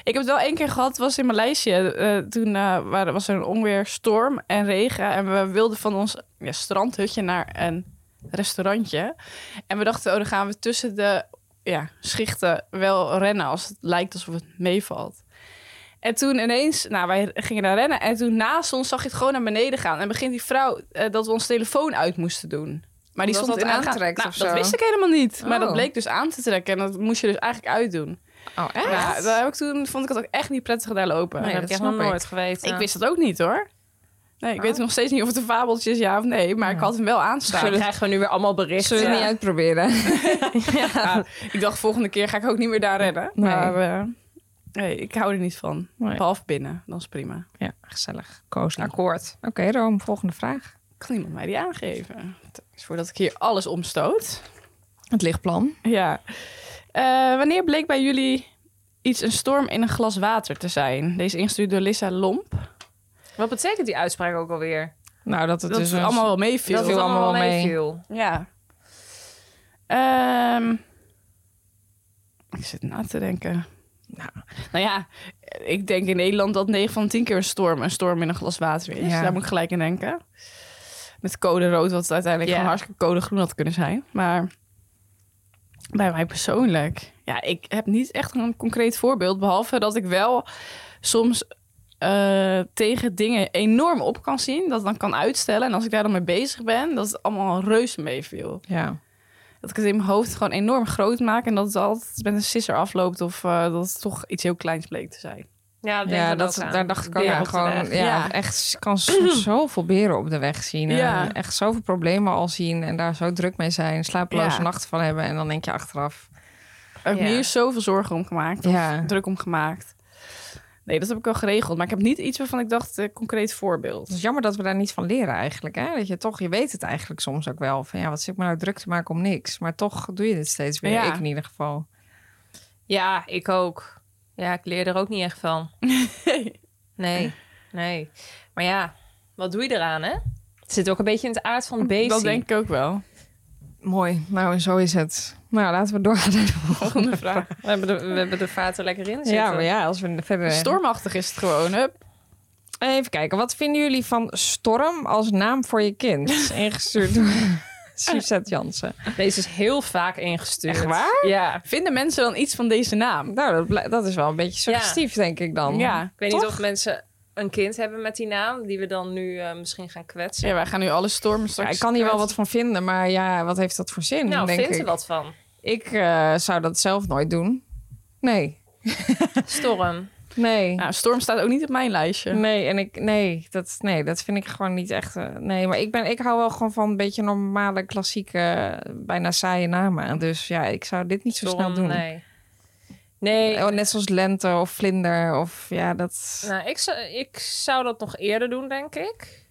Speaker 2: ik heb het wel één keer gehad, was in Maleisië. Eh, toen eh, waren, was er een onweer, storm en regen. En we wilden van ons ja, strandhutje naar een restaurantje. En we dachten, oh, dan gaan we tussen de ja, schichten wel rennen als het lijkt alsof het meevalt. En toen ineens, nou, wij gingen daar rennen. En toen naast ons zag je het gewoon naar beneden gaan. En begint die vrouw eh, dat we ons telefoon uit moesten doen. Maar die
Speaker 3: Omdat
Speaker 2: stond
Speaker 3: dat
Speaker 2: in aan
Speaker 3: aantrekt
Speaker 2: nou,
Speaker 3: of
Speaker 2: Dat
Speaker 3: zo?
Speaker 2: wist ik helemaal niet. Maar dat
Speaker 3: Oh.
Speaker 2: bleek dus aan te trekken. En dat moest je dus eigenlijk uitdoen.
Speaker 3: Oh, echt?
Speaker 2: Ja, daar heb ik toen vond ik het ook echt niet prettig daar lopen.
Speaker 4: Nee,
Speaker 3: Ja,
Speaker 4: dat
Speaker 3: dat
Speaker 4: heb ik
Speaker 3: snap
Speaker 4: echt nog
Speaker 3: ik. Oh.
Speaker 4: nooit geweten.
Speaker 2: Ik wist dat ook niet hoor. Nee, ik weet nog steeds niet of het een fabeltje is, ja of nee. Maar ik had hem wel
Speaker 4: Nou, Dan
Speaker 2: aanstaan.
Speaker 4: krijgen we nu weer allemaal berichten.
Speaker 3: Zullen we het niet uitproberen?
Speaker 2: Ja, ik dacht, volgende keer ga ik ook niet meer daar rennen.
Speaker 3: Nee.
Speaker 2: Maar eh, nee, ik hou er niet van.
Speaker 3: Nee.
Speaker 2: Behalve binnen, dan is prima.
Speaker 3: Ja, Oh, gezellig. Koos. Oké,
Speaker 4: Akkoord.
Speaker 3: Rome, volgende vraag.
Speaker 2: Kan niemand mij die aangeven? Is voordat ik hier alles omstoot.
Speaker 3: Het lichtplan.
Speaker 2: Ja. Eh, wanneer bleek bij jullie iets een storm in een glas water te zijn? Deze ingestuurd door Lissa Lomp.
Speaker 4: Wat betekent die uitspraak ook alweer?
Speaker 3: Nou, dat het
Speaker 2: Dat, is
Speaker 3: dus een-
Speaker 2: allemaal wel meeviel.
Speaker 3: Dat viel allemaal wel mee.
Speaker 4: meeviel.
Speaker 2: Ja. Ehm, ik zit na te denken. Nou, nou ja, ik denk in Nederland dat 9 van 10 keer een storm een storm in een glas water is.
Speaker 3: Ja.
Speaker 2: Daar moet ik gelijk in denken. Met code rood, wat uiteindelijk
Speaker 4: Ja.
Speaker 2: gewoon hartstikke code groen had kunnen zijn. Maar bij mij persoonlijk, ja, ik heb niet echt een concreet voorbeeld. Behalve dat ik wel soms eh, tegen dingen enorm op kan zien. Dat dan kan uitstellen. En als ik daar dan mee bezig ben, dat het allemaal reuze meeviel.
Speaker 3: Ja.
Speaker 2: Dat ik het in mijn hoofd gewoon enorm groot maak. En dat het altijd met een sisser afloopt. Of eh, dat het toch iets heel kleins bleek te zijn.
Speaker 4: Ja, dat,
Speaker 3: Ja, dat, daar dacht ik ook
Speaker 2: Beren
Speaker 3: aan.
Speaker 2: op de
Speaker 3: Gewoon, ja,
Speaker 2: weg. Ja.
Speaker 3: echt, je kan soms zoveel beren op de weg zien. En
Speaker 2: Ja.
Speaker 3: Echt zoveel problemen al zien en daar zo druk mee zijn. Slapeloze
Speaker 2: Ja.
Speaker 3: nachten van hebben en dan denk je achteraf.
Speaker 2: Ik heb
Speaker 4: Ja.
Speaker 2: hier zoveel zorgen om gemaakt. Of
Speaker 3: Ja.
Speaker 2: druk om gemaakt. Nee, dat heb ik wel geregeld. Maar ik heb niet iets waarvan ik dacht, eh, concreet voorbeeld.
Speaker 3: Het is jammer dat we daar niet van leren eigenlijk. Hè? Dat je toch, je weet het eigenlijk soms ook wel. Van ja, wat zit ik me nou druk te maken om niks. Maar toch doe je dit steeds weer.
Speaker 2: Ja.
Speaker 3: Ik in ieder geval.
Speaker 4: Ja, ik ook. Ja, ik leer er ook niet echt van. Nee, nee. Maar ja, wat doe je eraan, hè? Het zit ook een beetje in het aard van het beest.
Speaker 2: Dat denk ik ook wel.
Speaker 3: Mooi. Nou, en zo is het. Nou, laten we doorgaan naar de volgende.
Speaker 2: Volgende vraag.
Speaker 4: We hebben, de, we hebben de vaten lekker in zitten.
Speaker 3: Ja, maar ja, als we verder...
Speaker 2: Stormachtig is het gewoon. Hup.
Speaker 3: Even kijken, wat vinden jullie van storm als naam voor je kind? Ingestuurd door Suzette Jansen.
Speaker 4: Deze is heel vaak ingestuurd.
Speaker 3: Echt waar?
Speaker 4: Ja.
Speaker 2: Vinden mensen dan iets van deze naam?
Speaker 3: Nou, dat, bl- dat is wel een beetje suggestief, denk ik dan.
Speaker 2: Ja.
Speaker 4: Ik weet
Speaker 3: Toch?
Speaker 4: niet of mensen een kind hebben met die naam... die we dan nu eh, misschien gaan kwetsen.
Speaker 2: Ja, wij gaan nu alle stormen
Speaker 3: Ja,
Speaker 2: straks... eh,
Speaker 3: ik kan hier wel wat van vinden, maar ja, wat heeft dat voor zin?
Speaker 4: nou,
Speaker 3: denk
Speaker 4: vindt er
Speaker 3: ik.
Speaker 4: wat van.
Speaker 3: Ik eh, zou dat zelf nooit doen. Nee,
Speaker 4: Storm.
Speaker 3: nee.
Speaker 2: Nou, storm staat ook niet op mijn lijstje.
Speaker 3: Nee, en ik, nee, dat, nee, dat vind ik gewoon niet echt. eh, nee, maar ik, ben, ik hou wel gewoon van een beetje normale, klassieke, eh, bijna saaie namen. Dus ja, ik zou dit niet zo
Speaker 4: Storm,
Speaker 3: snel doen.
Speaker 4: nee. Nee,
Speaker 3: Oh, net zoals lente of vlinder of ja, dat...
Speaker 4: Nou, ik zou, ik zou dat nog eerder doen, denk ik.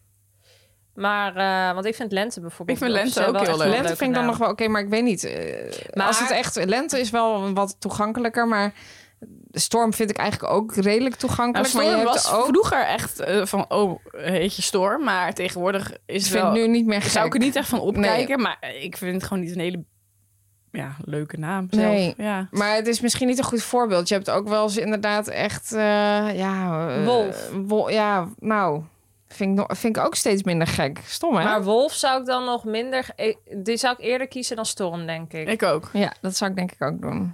Speaker 4: Maar, eh, want ik vind lente bijvoorbeeld...
Speaker 2: Ik vind lente
Speaker 4: wel
Speaker 2: ook
Speaker 4: echt
Speaker 2: heel
Speaker 4: een
Speaker 2: leuk.
Speaker 4: leuke
Speaker 3: lente vind ik dan
Speaker 4: naam.
Speaker 3: nog wel oké, maar ik weet niet. eh,
Speaker 4: Maar-
Speaker 3: Als het echt... Lente is wel wat toegankelijker, maar storm vind ik eigenlijk ook redelijk
Speaker 2: Nou,
Speaker 3: toegankelijk.
Speaker 2: storm
Speaker 3: maar je hebt
Speaker 2: was
Speaker 3: ook...
Speaker 2: vroeger echt eh, van, oh, heet je storm. Maar tegenwoordig is
Speaker 3: Ik
Speaker 2: het
Speaker 3: vind
Speaker 2: wel...
Speaker 3: het nu niet meer gek.
Speaker 2: zou ik er niet echt van opkijken. Maar ik vind het gewoon niet een hele ja, leuke naam zelf.
Speaker 3: Nee.
Speaker 2: Ja.
Speaker 3: Maar het is misschien niet een goed voorbeeld. Je hebt ook wel eens inderdaad echt... eh, ja, eh,
Speaker 4: Wolf.
Speaker 3: wol- ja, nou... Vind ik, nog- vind ik ook steeds minder gek. Stom, hè?
Speaker 4: Maar wolf zou ik dan nog minder... ik- Die zou ik eerder kiezen dan storm, denk ik.
Speaker 2: Ik ook.
Speaker 3: Ja, dat zou ik denk ik ook doen.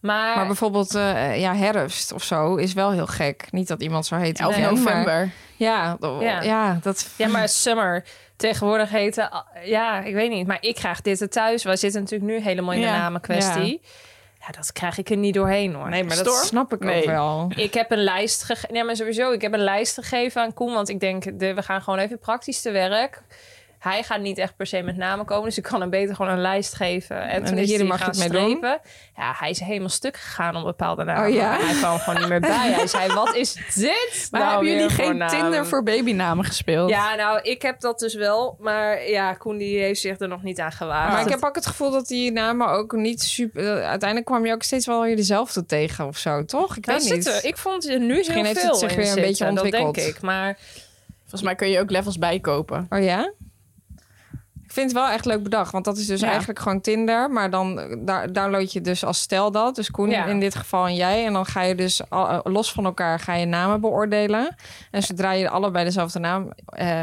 Speaker 4: Maar,
Speaker 3: Maar bijvoorbeeld, eh, ja, herfst of zo is wel heel gek. Niet dat iemand zo heet.
Speaker 2: Ja, of
Speaker 3: Nee, maar-
Speaker 2: november.
Speaker 3: Ja, d-
Speaker 4: Ja.
Speaker 3: ja. dat...
Speaker 4: ja, maar summer tegenwoordig heten... ah, Ja, ik weet niet. Maar ik krijg dit er thuis. We zitten natuurlijk nu helemaal in de
Speaker 2: Ja,
Speaker 4: namenkwestie. Ja. dat krijg ik er niet doorheen, hoor.
Speaker 3: Nee, maar dat
Speaker 2: Storm?
Speaker 3: snap ik
Speaker 2: Nee.
Speaker 3: ook wel.
Speaker 4: Ik heb een lijst gegeven. Nee, maar sowieso. Ik heb een lijst gegeven aan Koen. Want ik denk, de, we gaan gewoon even praktisch te werk. Hij gaat niet echt per se met namen komen. Dus ik kan hem beter gewoon een lijst geven. En, toen is
Speaker 3: hier
Speaker 4: hij
Speaker 3: mag je
Speaker 4: gaan
Speaker 3: het mee doen?
Speaker 4: strepen. Ja, hij is helemaal stuk gegaan op bepaalde namen.
Speaker 3: Oh ja?
Speaker 4: Hij kwam gewoon niet meer bij. Hij zei, wat is dit
Speaker 2: Maar
Speaker 4: nou
Speaker 2: hebben
Speaker 4: weer
Speaker 2: jullie
Speaker 4: voor
Speaker 2: geen
Speaker 4: naam?
Speaker 2: Tinder voor babynamen gespeeld?
Speaker 4: Ja, nou, ik heb dat dus wel. Maar ja, Koen die heeft zich er nog niet aan gewaagd.
Speaker 3: Maar ik heb ook het gevoel dat die namen ook niet super... eh, Uiteindelijk kwam je ook steeds wel weer dezelfde tegen of zo, toch? Ik
Speaker 4: Nou,
Speaker 3: weet
Speaker 4: zit
Speaker 3: niet.
Speaker 4: er- ik vond er nu heel
Speaker 3: Misschien heeft
Speaker 4: veel
Speaker 3: het zich
Speaker 4: in
Speaker 3: weer een
Speaker 4: zitten,
Speaker 3: beetje
Speaker 4: Dat denk
Speaker 3: ontwikkeld.
Speaker 4: ik. Maar
Speaker 2: Volgens mij kun je ook levels bijkopen.
Speaker 3: Oh ja? Ik vind het wel echt leuk bedacht. Want dat is dus
Speaker 2: Ja.
Speaker 3: eigenlijk gewoon Tinder. Maar dan eh, daar- download je dus als stel dat. Dus Koen
Speaker 4: Ja.
Speaker 3: in dit geval en jij. En dan ga je dus al- eh, los van elkaar ga je namen beoordelen. En zodra je allebei dezelfde naam eh,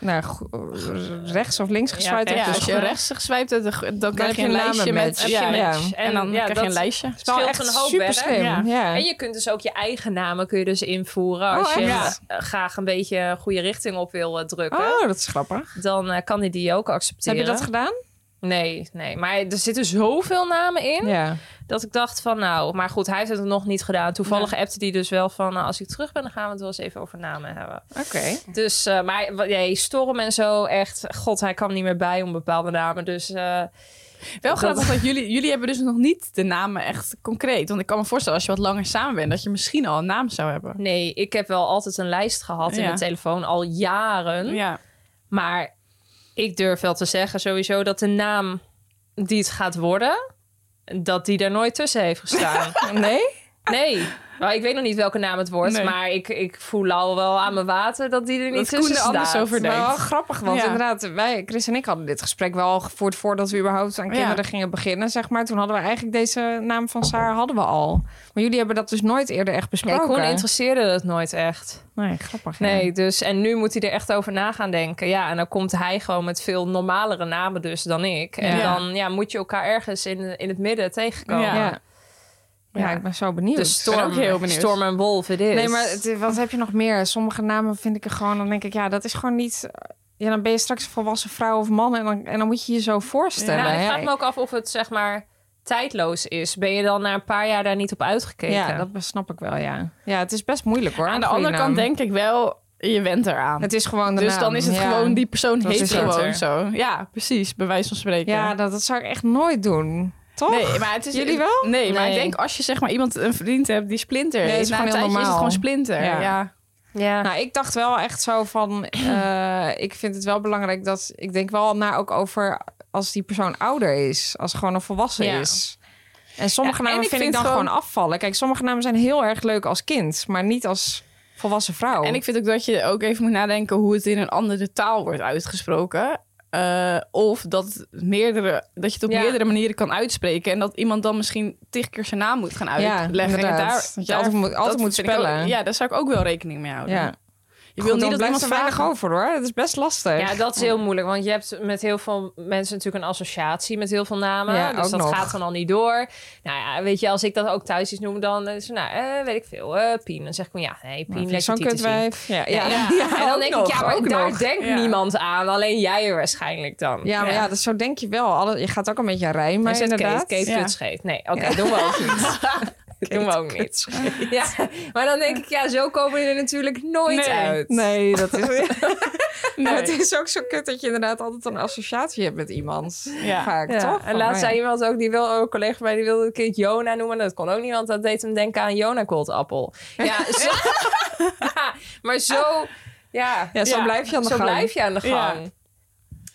Speaker 3: naar go- eh, rechts of links geswipt
Speaker 4: Ja,
Speaker 2: Ja,
Speaker 3: hebt.
Speaker 2: als
Speaker 3: dus
Speaker 2: je rechts geswipt hebt, dan krijg je een lijstje met...
Speaker 3: namenmatch.
Speaker 2: ja,
Speaker 3: Ja.
Speaker 2: En dan
Speaker 4: ja,
Speaker 2: krijg je
Speaker 4: dat-
Speaker 2: een lijstje.
Speaker 3: het is wel
Speaker 4: scheelt
Speaker 3: echt
Speaker 4: een hoop
Speaker 3: super
Speaker 4: werk.
Speaker 3: slim.
Speaker 2: Ja.
Speaker 3: Ja.
Speaker 4: En je kunt dus ook je eigen namen kun je dus invoeren. Als
Speaker 3: Oh,
Speaker 4: je
Speaker 3: echt?
Speaker 4: eh, graag een beetje een goede richting op wil eh, drukken,
Speaker 3: Oh, dat is grappig.
Speaker 4: dan eh, kan hij die ook
Speaker 3: Heb
Speaker 4: accepteren.
Speaker 3: je dat gedaan?
Speaker 4: Nee, nee. Maar er zitten zoveel namen in
Speaker 3: Ja.
Speaker 4: dat ik dacht van nou, maar goed, hij heeft het nog niet gedaan. Toevallig appte die dus wel van nou, als ik terug ben, dan gaan we het wel eens even over namen hebben.
Speaker 3: Oké.
Speaker 4: Dus, eh, maar wa- nee, storm en zo, echt, god, hij kwam niet meer bij om bepaalde namen. Dus eh,
Speaker 2: Wel
Speaker 4: Dat-
Speaker 2: grappig dat jullie, jullie hebben dus nog niet de namen echt concreet. Want ik kan me voorstellen, als je wat langer samen bent, dat je misschien al een naam zou hebben.
Speaker 4: nee, ik heb wel altijd een lijst gehad in
Speaker 2: Ja.
Speaker 4: mijn telefoon al jaren.
Speaker 2: Ja,
Speaker 4: Maar ik durf wel te zeggen sowieso dat de naam die het gaat worden, dat die daar nooit tussen heeft gestaan.
Speaker 3: Nee?
Speaker 4: Nee. Maar ik weet nog niet welke naam het wordt,
Speaker 2: Nee.
Speaker 4: maar ik, ik voel al wel aan mijn water dat die er niet
Speaker 2: Dat Koen
Speaker 4: tussen
Speaker 2: er
Speaker 4: staat.
Speaker 2: anders over
Speaker 3: Maar wel
Speaker 2: denkt.
Speaker 3: grappig, want
Speaker 2: Ja.
Speaker 3: inderdaad, wij, Chris en ik hadden dit gesprek wel gevoerd voordat we überhaupt aan
Speaker 2: Ja.
Speaker 3: kinderen gingen beginnen, zeg maar. Toen hadden we eigenlijk deze naam van Saar hadden we al. Maar jullie hebben dat dus nooit eerder echt
Speaker 4: Nee,
Speaker 3: besproken.
Speaker 4: Koen interesseerde dat nooit echt.
Speaker 3: nee grappig. ja.
Speaker 4: Nee, dus en nu moet hij er echt over na gaan denken. Ja, en dan komt hij gewoon met veel normalere namen dus dan ik. En
Speaker 2: Ja.
Speaker 4: dan ja, moet je elkaar ergens in, in het midden tegenkomen.
Speaker 3: Ja.
Speaker 2: Ja.
Speaker 3: Ja. ik ben zo benieuwd.
Speaker 4: Dus
Speaker 2: ben
Speaker 4: storm,
Speaker 2: ook heel benieuwd.
Speaker 4: storm en wolf, het is.
Speaker 3: Nee, maar het- wat heb je nog meer? Sommige namen vind ik er gewoon, dan denk ik, ja, dat is gewoon niet... Ja, dan ben je straks een volwassen vrouw of man en dan, en dan moet je je zo
Speaker 4: Nou,
Speaker 3: voorstellen.
Speaker 4: ik
Speaker 3: hè?
Speaker 4: vraag me ook af of het zeg maar tijdloos is. Ben je dan na een paar jaar daar niet op uitgekeken?
Speaker 3: ja, dat snap ik wel, ja. Ja, het is best moeilijk hoor.
Speaker 2: Aan
Speaker 3: een
Speaker 2: de
Speaker 3: goede
Speaker 2: andere
Speaker 3: naam.
Speaker 2: kant denk ik wel, je went eraan.
Speaker 3: Het is gewoon de
Speaker 2: dus
Speaker 3: naam,
Speaker 2: dan is het
Speaker 3: ja.
Speaker 2: gewoon, die persoon
Speaker 3: Dat
Speaker 2: heet
Speaker 3: is het.
Speaker 2: gewoon zo. Ja, precies, bij wijze van spreken.
Speaker 3: Ja, dat, dat zou ik echt nooit doen. Toch?
Speaker 2: Nee, maar het is,
Speaker 3: Jullie wel?
Speaker 2: Nee, maar ik
Speaker 4: Nee.
Speaker 2: denk als je zeg maar iemand een vriend hebt die Splinter
Speaker 3: Nee,
Speaker 2: heet,
Speaker 3: het is
Speaker 2: na
Speaker 3: gewoon
Speaker 2: een
Speaker 3: heel
Speaker 2: tijdje is het
Speaker 3: normaal.
Speaker 2: gewoon Splinter.
Speaker 3: Ja.
Speaker 2: Ja.
Speaker 4: ja.
Speaker 3: Nou, ik dacht wel echt zo van... eh, ik vind het wel belangrijk dat... Ik denk wel na ook over als die persoon ouder is. Als gewoon een volwassen
Speaker 4: Ja.
Speaker 3: is. En sommige
Speaker 2: Ja, en ik
Speaker 3: namen vind, ik
Speaker 2: vind
Speaker 3: dan gewoon...
Speaker 2: gewoon-
Speaker 3: afvallen. Kijk, sommige namen zijn heel erg leuk als kind. Maar niet als volwassen vrouw.
Speaker 2: En ik vind ook dat je ook even moet nadenken hoe het in een andere taal wordt uitgesproken. Eh, of dat, meerdere, dat je het op
Speaker 4: Ja.
Speaker 2: meerdere manieren kan uitspreken. En dat iemand dan misschien tig keer zijn naam moet gaan uitleggen.
Speaker 3: inderdaad.
Speaker 2: en
Speaker 3: Dat je altijd moet- altijd
Speaker 2: dat
Speaker 3: moet
Speaker 2: vind ik ook-
Speaker 3: spellen.
Speaker 2: ja, daar zou ik ook wel rekening mee houden.
Speaker 3: ja.
Speaker 2: Je
Speaker 3: Goed,
Speaker 2: wil niet
Speaker 3: dan
Speaker 2: dat
Speaker 3: blijft
Speaker 2: iemand
Speaker 3: er weinig
Speaker 2: vragen-
Speaker 3: over hoor. Dat is best lastig.
Speaker 4: Ja, dat is heel moeilijk. Want je hebt met heel veel mensen natuurlijk een associatie met heel veel namen.
Speaker 3: Ja, ook
Speaker 4: dus dat
Speaker 3: nog.
Speaker 4: gaat dan al niet door. Nou ja, weet je, als ik dat ook thuis iets noem, dan is het, nou, eh, weet ik veel, eh, Pien. Dan zeg ik, gewoon, ja, nee,
Speaker 3: Maar
Speaker 4: Pien,
Speaker 3: vind ik
Speaker 4: lekker
Speaker 3: Zo'n
Speaker 4: tieten zien.
Speaker 3: kutwijf. Ja, ja.
Speaker 4: Ja, en dan
Speaker 3: ook
Speaker 4: denk
Speaker 3: nog,
Speaker 4: ik, ja, maar
Speaker 3: ook
Speaker 4: daar
Speaker 3: nog.
Speaker 4: denkt
Speaker 2: Ja.
Speaker 4: niemand aan. Alleen jij waarschijnlijk dan.
Speaker 3: Ja, maar ja, dat, zo denk je wel. Alle, je gaat ook een beetje rijmen,
Speaker 4: maar
Speaker 3: inderdaad.
Speaker 4: Kate, Kate
Speaker 2: Ja.
Speaker 4: kutscheet. Nee, oké, doen we ook niet. Dat doen we ook niet. Ja, maar dan denk ik, ja, zo komen we er natuurlijk nooit
Speaker 2: Nee.
Speaker 4: uit.
Speaker 3: Nee, dat is...
Speaker 2: Nee.
Speaker 3: Het is ook zo kut dat je inderdaad altijd een associatie hebt met iemand.
Speaker 2: Ja.
Speaker 3: Vaak,
Speaker 4: Ja,
Speaker 3: toch?
Speaker 4: En
Speaker 3: Van,
Speaker 4: laatst
Speaker 3: oh
Speaker 4: zei iemand ook, die wil ook een collega van mij, die wilde het kind Jona noemen. Dat kon ook niet, want dat deed hem denken aan Jona Appel. Ja, zo, ja, maar zo, ja,
Speaker 3: ja. Ja, zo
Speaker 2: Ja,
Speaker 3: blijf je aan de
Speaker 4: zo
Speaker 3: gang.
Speaker 4: blijf je aan de
Speaker 2: Ja.
Speaker 4: gang.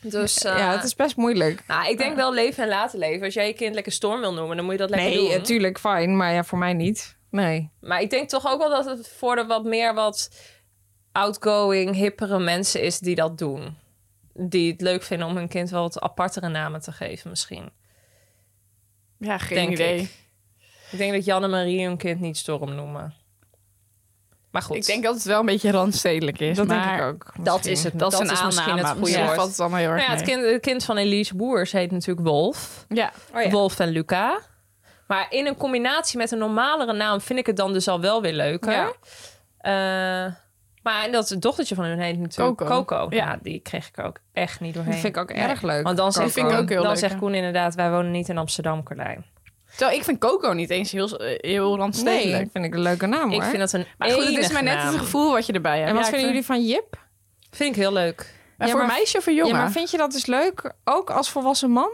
Speaker 4: Dus eh,
Speaker 3: Ja, het is best moeilijk.
Speaker 4: nou, ik denk wel leven en laten leven. Als jij je kind lekker storm wil noemen, dan moet je dat lekker
Speaker 3: Nee,
Speaker 4: doen.
Speaker 3: natuurlijk, fijn. Maar ja, voor mij niet. Nee.
Speaker 4: Maar ik denk toch ook wel dat het voor de wat meer wat outgoing, hippere mensen is die dat doen. Die het leuk vinden om hun kind wel wat apartere namen te geven misschien.
Speaker 2: Ja, geen
Speaker 4: Denk
Speaker 2: idee.
Speaker 4: ik. Ik denk dat Jan en Marie hun kind niet Storm noemen. Maar goed,
Speaker 2: Ik denk dat het wel een beetje randstedelijk is.
Speaker 3: Dat
Speaker 2: maar
Speaker 3: denk ik ook.
Speaker 4: dat is het. Dat, is misschien het goede
Speaker 2: Misschien
Speaker 4: woord.
Speaker 2: valt het allemaal heel erg
Speaker 4: Nou ja, het
Speaker 2: mee.
Speaker 4: kind, het kind van Elise Boers heet natuurlijk Wolf.
Speaker 2: Oh Ja.
Speaker 4: Wolf en Luca. Maar in een combinatie met een normalere naam vind ik het dan dus al wel weer leuker.
Speaker 2: Ja.
Speaker 4: Eh, maar dat dochtertje van hun heet natuurlijk Coco.
Speaker 2: Coco.
Speaker 4: Ja.
Speaker 2: Ja.
Speaker 4: die kreeg ik er ook echt niet doorheen.
Speaker 3: Dat vind ik ook erg leuk.
Speaker 4: Want dan zegt,
Speaker 2: vind ik
Speaker 4: Koen-
Speaker 2: ook heel
Speaker 4: dan
Speaker 2: leuk,
Speaker 4: zegt
Speaker 2: ja.
Speaker 4: Koen inderdaad, wij wonen niet in Amsterdam, Carlijn.
Speaker 2: Terwijl ik vind Coco niet eens heel, heel
Speaker 3: Nee,
Speaker 2: randstedelijk.
Speaker 3: vind ik een leuke naam, hoor.
Speaker 4: Ik vind dat een
Speaker 2: Maar goed, het is
Speaker 4: enige
Speaker 2: maar net
Speaker 4: naam.
Speaker 2: het gevoel wat je erbij hebt.
Speaker 3: En wat
Speaker 2: Ja, ik
Speaker 3: vinden jullie
Speaker 2: vind-
Speaker 3: van Jip?
Speaker 4: Vind ik heel leuk.
Speaker 2: Maar
Speaker 3: Ja,
Speaker 2: voor
Speaker 3: maar-
Speaker 2: meisje of voor jongen?
Speaker 3: Ja, maar vind je dat dus leuk? Ook als volwassen man?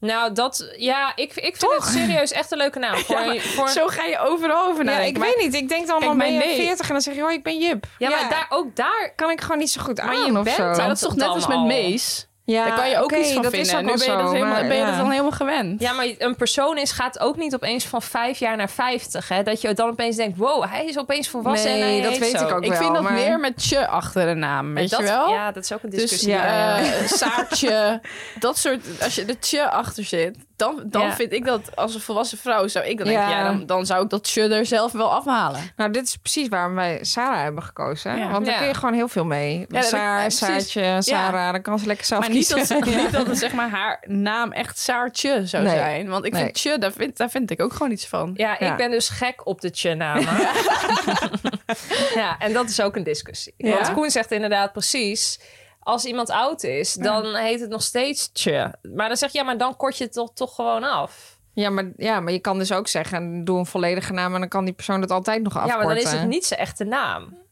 Speaker 4: Nou, dat... Ja, ik, ik vind het serieus echt een leuke naam. Voor, voor,
Speaker 2: Zo ga je overal over
Speaker 3: ja,
Speaker 2: nadenken.
Speaker 3: ik
Speaker 2: Maar-
Speaker 3: weet niet. Ik denk dan,
Speaker 2: Kijk,
Speaker 3: dan ben je
Speaker 2: mijn nee-
Speaker 3: 40 en dan zeg je, oh, ik ben Jip.
Speaker 4: ja, maar daar, ook daar...
Speaker 3: kan ik gewoon niet zo goed aan
Speaker 4: Maar je
Speaker 3: of
Speaker 4: bent
Speaker 3: zo.
Speaker 2: maar dat is toch net
Speaker 4: Dan
Speaker 2: als met
Speaker 4: al.
Speaker 2: Mees?
Speaker 3: Ja,
Speaker 2: Daar kan je ook
Speaker 3: oké,
Speaker 2: iets van
Speaker 3: dat is
Speaker 2: vinden.
Speaker 3: ook
Speaker 2: nu
Speaker 3: wel
Speaker 2: ben je, dat,
Speaker 3: zo,
Speaker 2: helemaal,
Speaker 3: maar
Speaker 2: ben je
Speaker 3: ja.
Speaker 2: dat dan helemaal gewend.
Speaker 4: Ja, maar een persoon is gaat ook niet opeens van vijf jaar naar vijftig. Hè? Dat je dan opeens denkt, wow, hij is opeens volwassen en
Speaker 3: Nee,
Speaker 4: hij
Speaker 3: dat
Speaker 4: heet
Speaker 3: weet
Speaker 4: zo.
Speaker 3: ik ook
Speaker 2: ik
Speaker 3: wel,
Speaker 2: vind dat
Speaker 3: maar-
Speaker 2: meer met je achter de naam, weet
Speaker 4: dat,
Speaker 2: je wel?
Speaker 4: Ja, dat is ook een
Speaker 2: Dus
Speaker 4: discussie.
Speaker 3: ja,
Speaker 2: eh, Saartje, dat soort. Als je de tje achter zit, dan, dan
Speaker 4: Ja.
Speaker 2: vind ik dat als een volwassen vrouw zou ik dan
Speaker 3: Ja.
Speaker 2: denken, ja, dan, dan zou ik dat tje er zelf wel afhalen.
Speaker 3: Nou, dit is precies waarom wij Sarah hebben gekozen. hè?
Speaker 2: Ja.
Speaker 3: Want daar
Speaker 4: Ja.
Speaker 3: kun je gewoon heel veel mee.
Speaker 2: dat-
Speaker 3: Saar,
Speaker 2: ja, precies.
Speaker 3: Saartje, Sarah, dan kan ze lekker zelf
Speaker 2: Maar niet
Speaker 3: kiezen.
Speaker 2: dat, niet dat het, zeg maar, haar naam echt Saartje zou
Speaker 3: Nee.
Speaker 2: zijn. Want ik
Speaker 3: Nee.
Speaker 2: vind tje, daar vind, daar vind ik ook gewoon iets van.
Speaker 4: Ja, ik
Speaker 3: Ja.
Speaker 4: ben dus gek op de tje-namen. ja, en dat is ook een discussie.
Speaker 2: Ja.
Speaker 4: Want Koen zegt inderdaad precies... Als iemand oud is, dan heet het nog steeds tje. Maar dan zeg je, ja, maar dan kort je het toch, toch gewoon af.
Speaker 3: ja, maar, ja, maar je kan dus ook zeggen, doe een volledige naam... en dan kan die persoon dat altijd nog afkorten.
Speaker 4: Ja, maar dan is het niet zijn echte naam.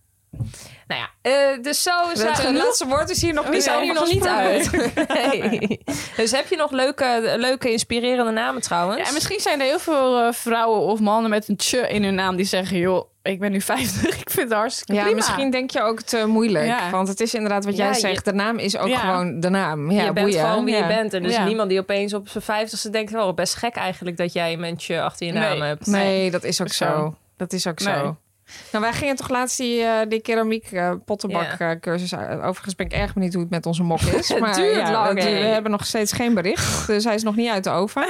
Speaker 4: Nou ja, eh, dus zo...
Speaker 3: Het,
Speaker 4: zijn-
Speaker 3: het laatste woord is hier nog
Speaker 4: We
Speaker 3: niet
Speaker 4: zijn hier
Speaker 3: over
Speaker 4: nog niet
Speaker 3: gesproken.
Speaker 4: uit. Nee. Dus heb je nog leuke, leuke inspirerende namen trouwens?
Speaker 2: Ja, en misschien zijn er heel veel eh, vrouwen of mannen met een tje in hun naam die zeggen, joh, ik ben nu 50. Ik vind het hartstikke
Speaker 3: Ja,
Speaker 2: prima.
Speaker 3: misschien denk je ook te moeilijk.
Speaker 2: Ja.
Speaker 3: Want het is inderdaad wat jij
Speaker 4: Ja, je-
Speaker 3: zegt. De naam is ook
Speaker 2: Ja.
Speaker 3: gewoon de naam. Ja,
Speaker 4: je bent
Speaker 3: boeien.
Speaker 4: gewoon wie
Speaker 3: Ja.
Speaker 4: je bent. En dus
Speaker 2: Ja.
Speaker 4: niemand die opeens op zijn vijftigste denkt... oh, best gek eigenlijk dat jij een mensje achter je naam
Speaker 2: Nee.
Speaker 4: hebt.
Speaker 3: Nee, dat is ook
Speaker 2: Zo.
Speaker 3: zo. Dat is ook zo.
Speaker 2: Nee.
Speaker 3: Nou, wij gingen toch laatst die, eh, die keramiek eh, pottenbak eh, cursus. uit. Overigens ben ik erg benieuwd hoe het met onze mok is.
Speaker 4: Het
Speaker 3: Maar
Speaker 4: duurt
Speaker 3: ja,
Speaker 4: lang,
Speaker 3: dat-
Speaker 4: hè?
Speaker 3: we hebben nog steeds geen bericht. Dus hij is nog niet uit de oven.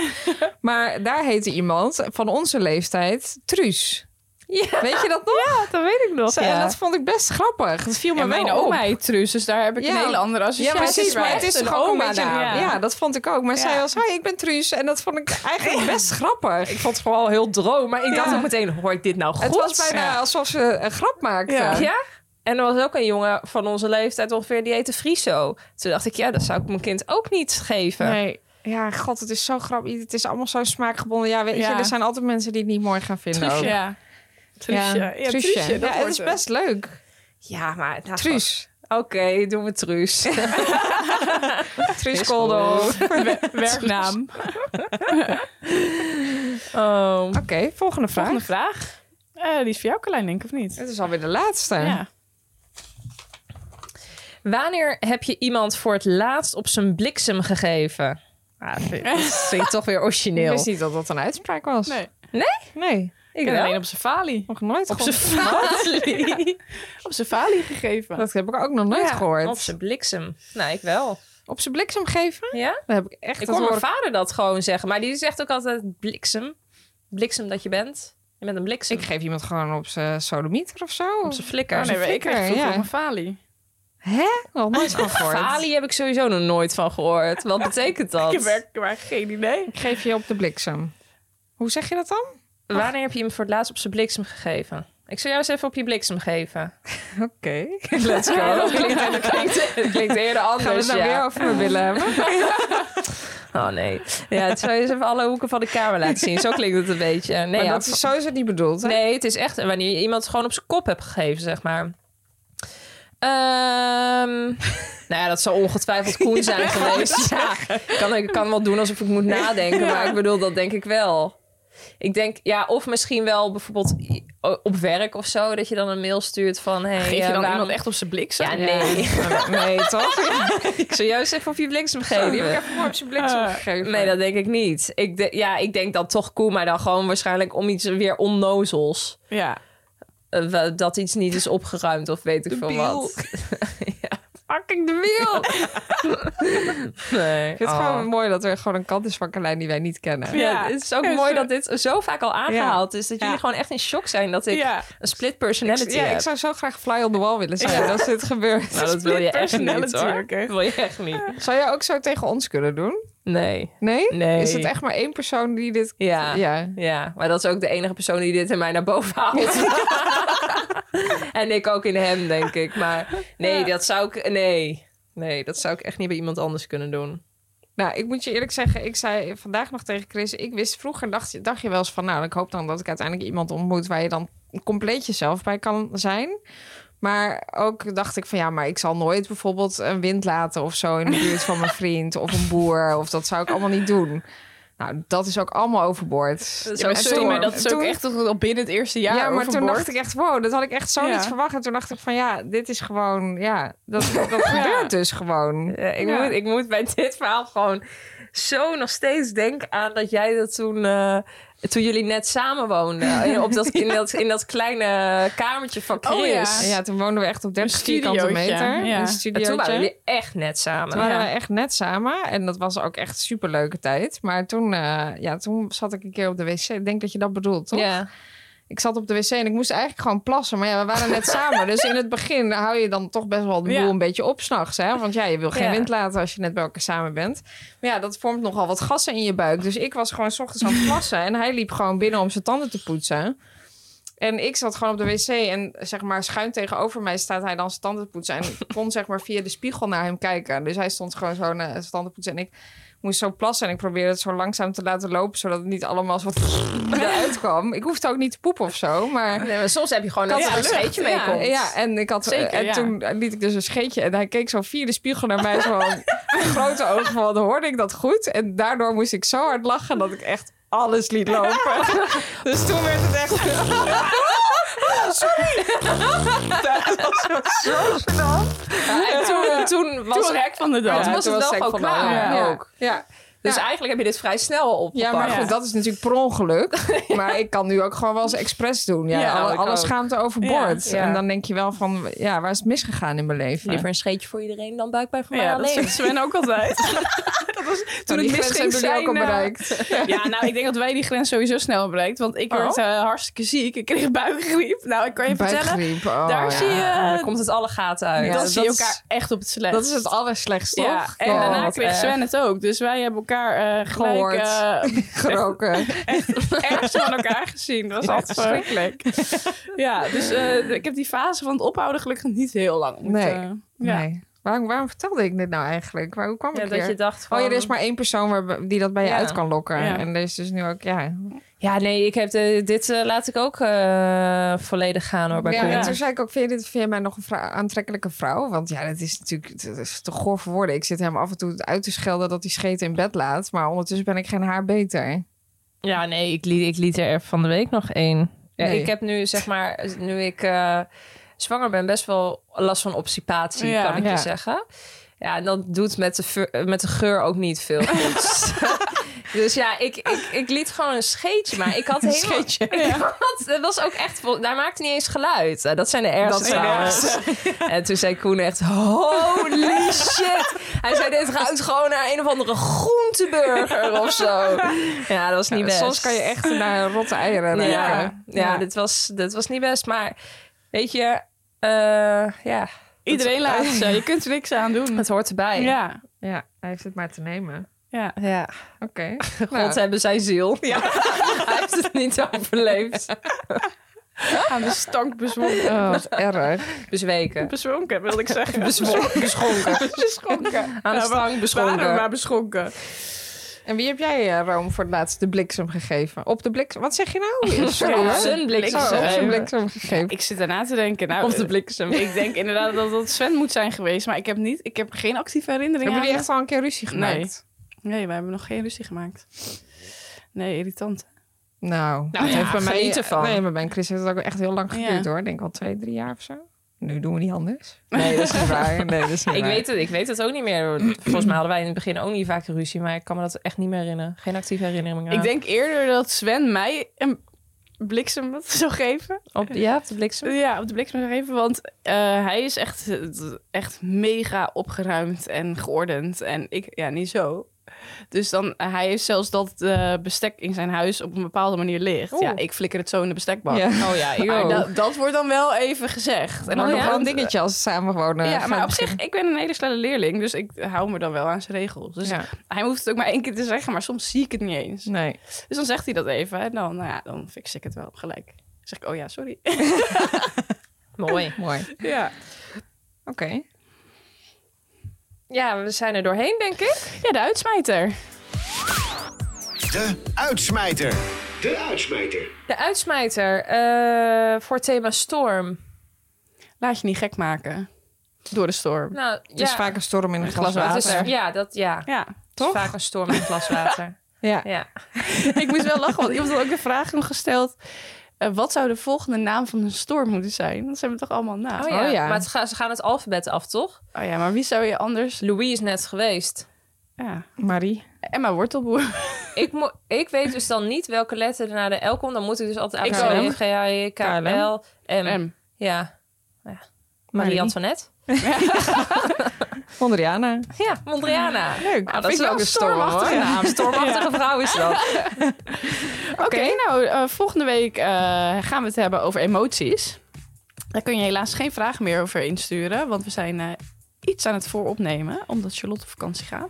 Speaker 3: maar daar heette iemand van onze leeftijd Truus.
Speaker 4: Ja.
Speaker 3: Weet je dat nog?
Speaker 2: Ja, dat weet ik nog.
Speaker 3: Zij- En dat vond ik best grappig. Dat viel me
Speaker 2: En mijn
Speaker 3: wel op.
Speaker 2: oma heet Truus, dus daar heb ik
Speaker 3: Ja.
Speaker 2: een hele andere
Speaker 3: Ja,
Speaker 2: associatie
Speaker 3: precies.
Speaker 2: bij.
Speaker 3: Maar het is
Speaker 2: Echt
Speaker 3: toch
Speaker 2: een
Speaker 3: ook een
Speaker 2: oma
Speaker 3: beetje...
Speaker 2: naam.
Speaker 3: Ja. nou. dat vond ik ook. Maar
Speaker 2: Ja.
Speaker 3: zij was, hoi, ik ben Truus. En dat vond ik eigenlijk best grappig.
Speaker 4: Ik vond het vooral heel droom. Maar ik dacht ook meteen, hoor ik dit nou goed?
Speaker 3: Het was bijna
Speaker 2: Ja.
Speaker 3: alsof ze een grap maakte.
Speaker 2: Ja.
Speaker 4: Ja? En er was ook een jongen van onze leeftijd ongeveer, die heette Friso. Toen dacht ik, ja, dat zou ik mijn kind ook niet geven.
Speaker 3: Nee. Ja, god, het is zo grappig. Het is allemaal zo smaakgebonden. Ja, weet je,
Speaker 2: Ja.
Speaker 3: er zijn altijd mensen die het niet mooi gaan vinden.
Speaker 2: Truusje.
Speaker 3: ook.
Speaker 2: Ja. Truusje. Ja,
Speaker 3: Truusje.
Speaker 2: Truusje, dat
Speaker 3: Ja, het
Speaker 2: wordt eh,
Speaker 3: is best leuk.
Speaker 4: Ja, maar... nou,
Speaker 3: Truus.
Speaker 4: Oké, doen we Truus.
Speaker 3: Truus Koldo. Oké,
Speaker 2: werknaam.
Speaker 4: Oh.
Speaker 3: volgende vraag.
Speaker 2: Volgende vraag. Eh, die is voor jou, Carlijn, denk ik, of niet?
Speaker 3: Het is alweer de laatste.
Speaker 2: Ja.
Speaker 4: Wanneer heb je iemand voor het laatst op zijn bliksem gegeven? Ah, dat vind- dat vind ik toch weer
Speaker 3: Ik
Speaker 4: origineel.
Speaker 3: wist niet dat dat een uitspraak was.
Speaker 2: Nee.
Speaker 3: Nee,
Speaker 2: Ik ben alleen op safari.
Speaker 3: nog nooit
Speaker 4: Op zijn
Speaker 3: gehoord.
Speaker 4: falie.
Speaker 2: Op safari gegeven.
Speaker 3: Dat heb ik ook nog nooit
Speaker 2: Ja,
Speaker 3: gehoord.
Speaker 4: Op zijn bliksem. Nou, ik wel.
Speaker 3: Op zijn bliksem geven?
Speaker 4: Ja?
Speaker 3: Dat heb ik echt
Speaker 4: Ik
Speaker 3: dat
Speaker 4: hoor mijn
Speaker 3: hoor ik-
Speaker 4: vader dat gewoon zeggen. Maar die zegt ook altijd bliksem. Bliksem dat je bent. Je bent een bliksem.
Speaker 3: Ik geef iemand gewoon op zijn sodomieter of zo.
Speaker 4: op zijn flikker.
Speaker 2: Oh, nee, maar ik kreeg
Speaker 3: flikker,
Speaker 2: vroeger
Speaker 3: ja.
Speaker 2: op mijn falie.
Speaker 3: Hè? Nog nooit van gehoord.
Speaker 4: Falie heb ik sowieso nog nooit van gehoord. Wat betekent dat?
Speaker 2: Ik heb werkelijk maar geen idee.
Speaker 3: Ik geef je op de bliksem. Hoe zeg je dat dan?
Speaker 4: Wanneer heb je hem voor het laatst op zijn bliksem gegeven? Ik zou jou eens even op je bliksem geven.
Speaker 3: Oké.
Speaker 4: Let's go. Dat klinkt, dat klinkt, dat klinkt eerder anders.
Speaker 3: Gaan we het nou
Speaker 4: ja.
Speaker 3: weer over mijn billen hebben?
Speaker 4: Oh nee. Ja, het zou je eens even alle hoeken van de kamer laten zien. Zo klinkt het een beetje. Nee,
Speaker 3: maar
Speaker 4: ja,
Speaker 3: dat is, zo is het niet bedoeld. Hè?
Speaker 4: nee het is echt wanneer je iemand gewoon op zijn kop hebt gegeven, zeg maar. Ehm, nou ja, dat zou ongetwijfeld Koen zijn geweest. Ja, ik kan, ik kan wel doen alsof ik moet nadenken, maar ik bedoel, dat denk ik wel. Ik denk, ja, of misschien wel bijvoorbeeld i- op werk of zo, dat je dan een mail stuurt van... Hey,
Speaker 2: Geef je
Speaker 4: eh,
Speaker 2: dan
Speaker 4: waarom-
Speaker 2: iemand echt op zijn bliksem?
Speaker 4: Ja, nee.
Speaker 3: Nee, toch?
Speaker 4: Ik zou juist even op je bliksem geven.
Speaker 3: Ik heb hem op zijn bliksem
Speaker 2: Eh,
Speaker 3: gegeven.
Speaker 4: Nee, dat denk ik niet. Ik de- ja, ik denk dat toch Koen, maar dan gewoon waarschijnlijk om iets weer onnozels.
Speaker 2: Ja.
Speaker 4: Eh, we- dat iets niet is opgeruimd of weet ik veel wat.
Speaker 2: Fucking de wiel!
Speaker 4: Nee.
Speaker 3: Ik vind het
Speaker 4: oh.
Speaker 3: gewoon mooi dat er gewoon een kant is van Carlijn die wij niet kennen.
Speaker 4: Ja,
Speaker 2: Ja.
Speaker 4: het is ook
Speaker 2: Ja,
Speaker 4: mooi
Speaker 2: zo-
Speaker 4: dat dit zo vaak al aangehaald is. Dat jullie
Speaker 3: Ja.
Speaker 4: gewoon echt in shock zijn dat ik
Speaker 2: Ja.
Speaker 4: een split personality
Speaker 3: Ja,
Speaker 4: heb.
Speaker 3: ik zou zo graag fly on the wall willen zijn als dit gebeurt.
Speaker 4: Nou, dat wil je
Speaker 2: split
Speaker 4: echt niet
Speaker 2: personality,
Speaker 4: hoor.
Speaker 2: oké.
Speaker 4: Dat wil je echt niet.
Speaker 3: Zou jij ook zo tegen ons kunnen doen?
Speaker 4: Nee.
Speaker 3: Nee?
Speaker 4: Nee.
Speaker 3: Is het echt maar één persoon die dit...
Speaker 4: Ja. ja.
Speaker 3: Ja.
Speaker 4: maar dat is ook de enige persoon die dit in mij naar boven haalt. en ik ook in hem, denk ik. Maar nee, dat zou ik... Nee. nee, dat zou ik echt niet bij iemand anders kunnen doen.
Speaker 3: Nou, ik moet je eerlijk zeggen, ik zei vandaag nog tegen Chris... Ik wist vroeger, dacht, je- dacht je wel eens van... Nou, ik hoop dan dat ik uiteindelijk iemand ontmoet... waar je dan compleet jezelf bij kan zijn. Maar ook dacht ik van... Ja, maar ik zal nooit bijvoorbeeld een wind laten of zo... in de buurt van mijn vriend of een boer. Of dat zou ik allemaal niet doen. Nou, dat is ook allemaal overboord.
Speaker 4: Dat is
Speaker 2: Ja, maar
Speaker 4: ook een
Speaker 2: sorry,
Speaker 4: storm.
Speaker 2: maar dat is ook
Speaker 3: Toen-
Speaker 2: echt toch al binnen het eerste jaar
Speaker 3: Ja, maar toen
Speaker 2: overboord.
Speaker 3: dacht ik echt, wow, dat had ik echt zo
Speaker 2: Ja.
Speaker 3: niet verwacht. En toen dacht ik van, ja, dit is gewoon, ja, dat, dat gebeurt dus gewoon.
Speaker 4: Ja, ik,
Speaker 2: Ja.
Speaker 4: Moet, ik moet bij dit verhaal gewoon zo nog steeds denken aan dat jij dat toen, eh, toen jullie net samen woonden. In, op dat, in, dat, in dat kleine eh, kamertje van Chris.
Speaker 2: Oh,
Speaker 3: En ja, toen woonden we echt op 30 vierkante
Speaker 2: studiootje,
Speaker 3: meter.
Speaker 2: ja.
Speaker 3: Een
Speaker 2: En
Speaker 4: En
Speaker 3: studiootje.
Speaker 4: toen waren jullie echt net samen.
Speaker 3: Toen waren we echt net samen en dat was ook echt super leuke tijd. Maar toen, eh, ja, toen zat ik een keer op de wc. Ik denk dat je dat bedoelt, toch?
Speaker 4: Ja.
Speaker 3: Ik zat op de wc en ik moest eigenlijk gewoon plassen. Maar ja, we waren net samen. Dus in het begin hou je dan toch best wel de boel
Speaker 2: Ja.
Speaker 3: een beetje op s'nachts. Want ja, je wil geen
Speaker 4: Ja.
Speaker 3: wind laten als je net bij elkaar samen bent. Maar ja, dat vormt nogal wat gassen in je buik. Dus ik was gewoon 's ochtends aan het plassen. En hij liep gewoon binnen om zijn tanden te poetsen. En ik zat gewoon op de wc en zeg maar schuin tegenover mij staat hij dan zijn tanden te poetsen. En ik kon zeg maar via de spiegel naar hem kijken. Dus hij stond gewoon zo naar zijn tanden te poetsen. En ik moest zo plassen en ik probeerde het zo langzaam te laten lopen. Zodat het niet allemaal zo eruit kwam. Ik hoefde ook niet te poepen of zo. Maar
Speaker 4: Nee, maar soms heb je gewoon
Speaker 3: Dat
Speaker 4: dat er
Speaker 3: is
Speaker 4: een
Speaker 2: lucht,
Speaker 4: scheetje mee
Speaker 2: ja.
Speaker 4: komt.
Speaker 3: ja, en, ik had,
Speaker 2: Zeker,
Speaker 3: en
Speaker 2: ja.
Speaker 3: toen liet ik dus een scheetje. En hij keek zo via de spiegel naar mij. Zo met grote ogen van, hoorde ik dat goed? En daardoor moest ik zo hard lachen dat ik echt alles liet lopen. dus toen werd het echt...
Speaker 4: en toen, toen was
Speaker 2: Toen hek van de dag.
Speaker 4: Ja, toen was het wel
Speaker 3: sec
Speaker 4: gewoon
Speaker 3: van de
Speaker 4: klaar.
Speaker 3: handen.
Speaker 4: Ja.
Speaker 3: Ja. Ook. ja.
Speaker 4: Dus
Speaker 3: Ja.
Speaker 4: eigenlijk heb je dit vrij snel op.
Speaker 3: Ja, maar
Speaker 2: Ja.
Speaker 3: goed, dat is natuurlijk per ongeluk. Maar ik kan nu ook gewoon wel eens expres doen. Ja,
Speaker 4: Ja,
Speaker 3: alle,
Speaker 4: ik
Speaker 3: alle
Speaker 4: ook.
Speaker 3: schaamte overboord.
Speaker 4: Ja. Ja.
Speaker 3: En dan denk je wel van, ja, waar is het misgegaan in mijn leven?
Speaker 4: Liever een scheetje voor iedereen dan buikpijn voor
Speaker 2: Ja,
Speaker 4: mij
Speaker 2: dat
Speaker 4: alleen.
Speaker 2: zegt Sven ook altijd. dat was, toen
Speaker 3: die
Speaker 2: ik
Speaker 3: grens
Speaker 2: misging
Speaker 3: hebben jullie ook al
Speaker 2: zijn, eh,
Speaker 3: bereikt.
Speaker 2: Ja, nou, ik denk dat wij die grens sowieso snel bereikt. Want ik werd eh, hartstikke ziek. Ik kreeg buikgriep. Nou, ik kan je vertellen.
Speaker 3: Buikgriep, oh,
Speaker 2: daar
Speaker 3: ja.
Speaker 2: zie je,
Speaker 4: Ja, dan komt het alle gaten uit.
Speaker 3: Ja,
Speaker 2: dan
Speaker 3: dat
Speaker 2: zie je
Speaker 3: is-
Speaker 2: elkaar echt op het slecht.
Speaker 3: Dat is het allerslechtste,
Speaker 2: ja,
Speaker 3: toch?
Speaker 2: en
Speaker 3: Oh,
Speaker 2: daarna
Speaker 3: wat
Speaker 2: kreeg
Speaker 4: erg.
Speaker 2: Sven het ook. Dus wij hebben elkaar eh gelijk
Speaker 3: Gehoord.
Speaker 2: eh,
Speaker 3: geroken.
Speaker 2: ergens van elkaar gezien. Dat was altijd verschrikkelijk. ja, dus eh, ik heb die fase van het ophouden gelukkig niet heel lang. moeten-
Speaker 3: Nee,
Speaker 2: ja.
Speaker 3: Nee. Waarom, waarom vertelde ik dit nou eigenlijk? Waar, hoe kwam
Speaker 4: Ja,
Speaker 3: ik
Speaker 4: dat
Speaker 3: hier?
Speaker 4: je dacht van...
Speaker 3: Oh ja, er is maar één persoon waar, die dat bij je
Speaker 4: Ja.
Speaker 3: uit kan lokken.
Speaker 2: Ja.
Speaker 3: En er is dus nu ook, ja.
Speaker 4: Ja, nee, ik heb de- dit eh, laat ik ook eh, volledig gaan hoor. Bij
Speaker 3: ja en
Speaker 4: Koen.
Speaker 3: toen zei ik ook, vind Oh, je, dit, vind je mij nog een vrou- aantrekkelijke vrouw? Want ja, dat is natuurlijk dat is te goor voor woorden. Ik zit hem af en toe uit te schelden dat hij scheten in bed laat. Maar ondertussen ben ik geen haar beter.
Speaker 4: Ja, nee, ik liet, ik liet er van de week nog één. Ja,
Speaker 3: Nee.
Speaker 4: Ik heb nu, zeg maar, nu ik eh, zwanger ben, best wel last van obstipatie,
Speaker 2: Ja.
Speaker 4: kan ik
Speaker 3: Ja.
Speaker 4: je zeggen. Ja, en dat doet met de, vu- eh, met de geur ook niet veel goeds. dus ja, ik, ik, ik liet gewoon een scheetje, maar ik had helemaal...
Speaker 3: scheetje,
Speaker 4: ik had- dat was ook echt... vol- Daar maakte niet eens geluid. Eh, Dat zijn de
Speaker 3: Dat
Speaker 4: ergste
Speaker 3: zijn de
Speaker 4: trouwens. En toen zei Koen echt, holy shit. Hij zei, dit ruikt gewoon naar een of andere groenteburger of zo. Ja, dat was niet
Speaker 3: Ja,
Speaker 4: best.
Speaker 3: Soms kan je echt naar rotte eieren
Speaker 4: Ja,
Speaker 3: ruiken.
Speaker 4: ja,
Speaker 3: Ja.
Speaker 4: Dit, was, dit was niet best. Maar weet je, eh, ja,
Speaker 2: Iedereen laat ze. Je kunt er niks aan doen.
Speaker 4: het hoort erbij.
Speaker 2: Ja,
Speaker 3: Ja, hij heeft het maar te nemen.
Speaker 2: ja.
Speaker 4: ja.
Speaker 3: Oké. Nou,
Speaker 4: God hebben zijn ziel. Hij heeft het niet overleefd.
Speaker 2: Aan de stank bezwonken.
Speaker 3: oh, wat erg.
Speaker 4: Bezweken.
Speaker 2: Bezwonken, wilde ik zeggen.
Speaker 4: Bezwonken. Beschonken.
Speaker 2: beschonken.
Speaker 4: Aan
Speaker 2: Nou, we
Speaker 4: de strang
Speaker 2: waren
Speaker 4: beschonken.
Speaker 2: maar beschonken.
Speaker 3: En wie heb jij, eh, Rome, voor het laatst de bliksem gegeven? Op de bliksem? Wat zeg je nou? Sorry,
Speaker 4: Op
Speaker 3: hoor.
Speaker 4: zijn bliksem.
Speaker 3: Oh, op zijn
Speaker 2: gegeven.
Speaker 3: bliksem gegeven.
Speaker 2: Ik zit daarna te denken. Nou,
Speaker 4: Op de bliksem.
Speaker 2: eh, Ik denk inderdaad dat dat Sven moet zijn geweest. Maar ik heb, niet, ik heb geen actieve herinnering
Speaker 3: Hebben jullie
Speaker 2: aan
Speaker 3: echt al een keer ruzie gemaakt?
Speaker 2: hem. Nee, we hebben nog geen ruzie gemaakt. Nee, irritant.
Speaker 3: Nou,
Speaker 4: Nou
Speaker 3: dat
Speaker 4: ja,
Speaker 3: heeft bij mij
Speaker 4: geniet ervan.
Speaker 3: Nee, maar bij Chris heeft het ook echt heel lang geduurd
Speaker 2: Ja.
Speaker 3: hoor. Ik denk al twee, drie jaar of zo. Nu doen we niet anders.
Speaker 4: Nee, dat is
Speaker 3: niet waar. Nee, dat is niet
Speaker 4: Ik
Speaker 3: waar.
Speaker 4: weet, het, ik weet het ook niet meer. Volgens mij hadden wij in het begin ook niet vaak ruzie, maar ik kan me dat echt niet meer herinneren. Geen actieve herinneringen.
Speaker 2: Ik denk eerder dat Sven mij een bliksem wat zou geven.
Speaker 4: Op, ja, op de bliksem.
Speaker 2: Ja, op de bliksem zou geven. Want eh, hij is echt, echt mega opgeruimd en geordend. En ik, ja, niet zo. Dus dan, hij heeft zelfs dat eh, bestek in zijn huis op een bepaalde manier ligt. Ja, ik flikker het zo in de bestekbak.
Speaker 3: Oh. Ja.
Speaker 4: Oh ja, ik
Speaker 2: Maar
Speaker 4: ook.
Speaker 2: dat, dat wordt dan wel even gezegd. En
Speaker 3: Maar
Speaker 2: dan
Speaker 3: nog
Speaker 2: nog
Speaker 3: wel
Speaker 2: want-
Speaker 3: een dingetje eh, als ze samen wonen.
Speaker 2: Ja, maar
Speaker 3: Gaan
Speaker 2: op zich, ik ben een hele snelle leerling, dus ik hou me dan wel aan zijn regels. Dus
Speaker 3: Ja.
Speaker 2: hij hoeft het ook maar één keer te zeggen, maar soms zie ik het niet eens.
Speaker 3: Nee.
Speaker 2: Dus dan zegt hij dat even en dan, nou ja, dan fix ik het wel gelijk. Dan zeg ik, oh ja, sorry.
Speaker 4: Mooi.
Speaker 3: Mooi.
Speaker 2: ja.
Speaker 3: Oké.
Speaker 4: Ja, we zijn er doorheen, denk ik.
Speaker 2: ja, de uitsmijter.
Speaker 1: De uitsmijter.
Speaker 5: De uitsmijter.
Speaker 4: De uitsmijter eh, voor het thema storm.
Speaker 2: Laat je niet gek maken door de storm.
Speaker 4: Nou,
Speaker 3: Het is
Speaker 4: ja,
Speaker 3: vaak een storm in een glas
Speaker 2: glas
Speaker 4: het is-
Speaker 3: water.
Speaker 4: ja, dat ja.
Speaker 2: Ja,
Speaker 4: Het
Speaker 3: Toch?
Speaker 4: is vaak een storm in een glas water.
Speaker 3: Ja.
Speaker 4: ja.
Speaker 2: Oh ik moest wel lachen, want iemand had ook de vraag nog gesteld... eh, wat zou de volgende naam van een storm moeten zijn? Dat zijn we toch allemaal na.
Speaker 4: Oh, ja.
Speaker 3: Oh, ja.
Speaker 4: Maar het ga- ze gaan het alfabet af, toch?
Speaker 2: Oh ja, maar wie zou je anders...
Speaker 4: Louis is net geweest.
Speaker 2: Ja,
Speaker 3: Marie.
Speaker 2: Emma Wortelboer.
Speaker 4: Ik, mo- ik weet dus dan niet welke letter er naar de L komt. Dan moet ik dus altijd
Speaker 2: Ik
Speaker 4: aan
Speaker 2: ook.
Speaker 4: G, H, I, K, L, M.
Speaker 2: M.
Speaker 4: Ja. ja. Marie-Antoinette.
Speaker 3: Mondriana.
Speaker 4: Ja, Mondriana.
Speaker 3: Leuk.
Speaker 4: Nou, dat
Speaker 3: Vind
Speaker 4: is
Speaker 3: ik
Speaker 4: ook
Speaker 3: wel
Speaker 4: een stormachtige
Speaker 3: storm, hoor.
Speaker 4: naam. Stormachtige vrouw is dat.
Speaker 2: Oké, nou, eh, volgende week eh, gaan we het hebben over emoties. Daar kun je helaas geen vragen meer over insturen, want we zijn eh, iets aan het vooropnemen, omdat Charlotte op vakantie gaat.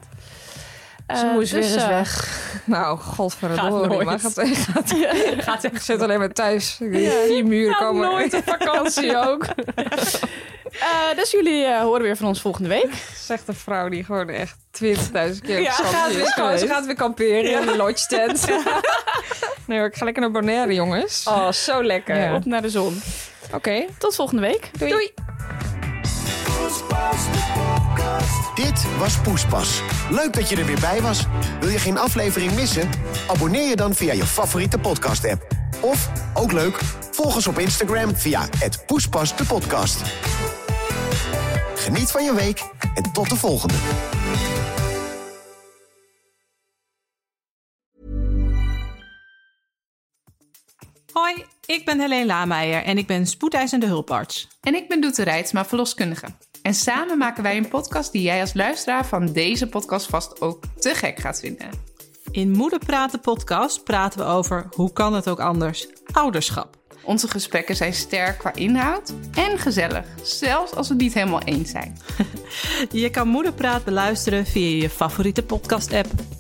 Speaker 4: Ze
Speaker 2: Eh,
Speaker 4: moest weer eens
Speaker 2: eh,
Speaker 4: weg.
Speaker 3: Nou,
Speaker 4: Gaat
Speaker 3: godverdomme.
Speaker 4: nooit.
Speaker 3: Maar gaat, gaat, gaat echt. Zit alleen maar thuis. Die vier muren komen.
Speaker 4: op vakantie ook.
Speaker 2: eh, dus jullie eh, horen weer van ons volgende week.
Speaker 3: Zegt de vrouw die gewoon echt 20.000 keer op
Speaker 2: Ja,
Speaker 3: zand
Speaker 2: gaat
Speaker 3: is
Speaker 2: weer-
Speaker 3: geweest.
Speaker 4: ze gaat weer kamperen in de lodge tent.
Speaker 3: Nee hoor, ik ga lekker naar Bonaire, jongens.
Speaker 4: Oh, zo lekker.
Speaker 3: Ja.
Speaker 2: Op naar de zon.
Speaker 3: Oké.
Speaker 2: Tot volgende week.
Speaker 4: Doei.
Speaker 1: Dit was Poespas. Leuk dat je er weer bij was. Wil je geen aflevering missen? Abonneer je dan via je favoriete podcast-app. Of, ook leuk, volg Volg ons op Instagram via het Poespas de podcast. Geniet van je week en tot de volgende.
Speaker 5: Hoi, ik ben Helene Lameijer en ik ben spoedeisende hulparts.
Speaker 6: En ik ben Doete Reitsma, verloskundige. En samen maken wij een podcast die jij als luisteraar van deze podcast vast ook te gek gaat vinden.
Speaker 5: In Moeder Praten podcast praten we over hoe kan het ook anders? Ouderschap.
Speaker 6: Onze gesprekken zijn sterk qua inhoud en gezellig, zelfs als we het niet helemaal eens zijn.
Speaker 5: Je kan Moederpraat beluisteren via je favoriete podcast app.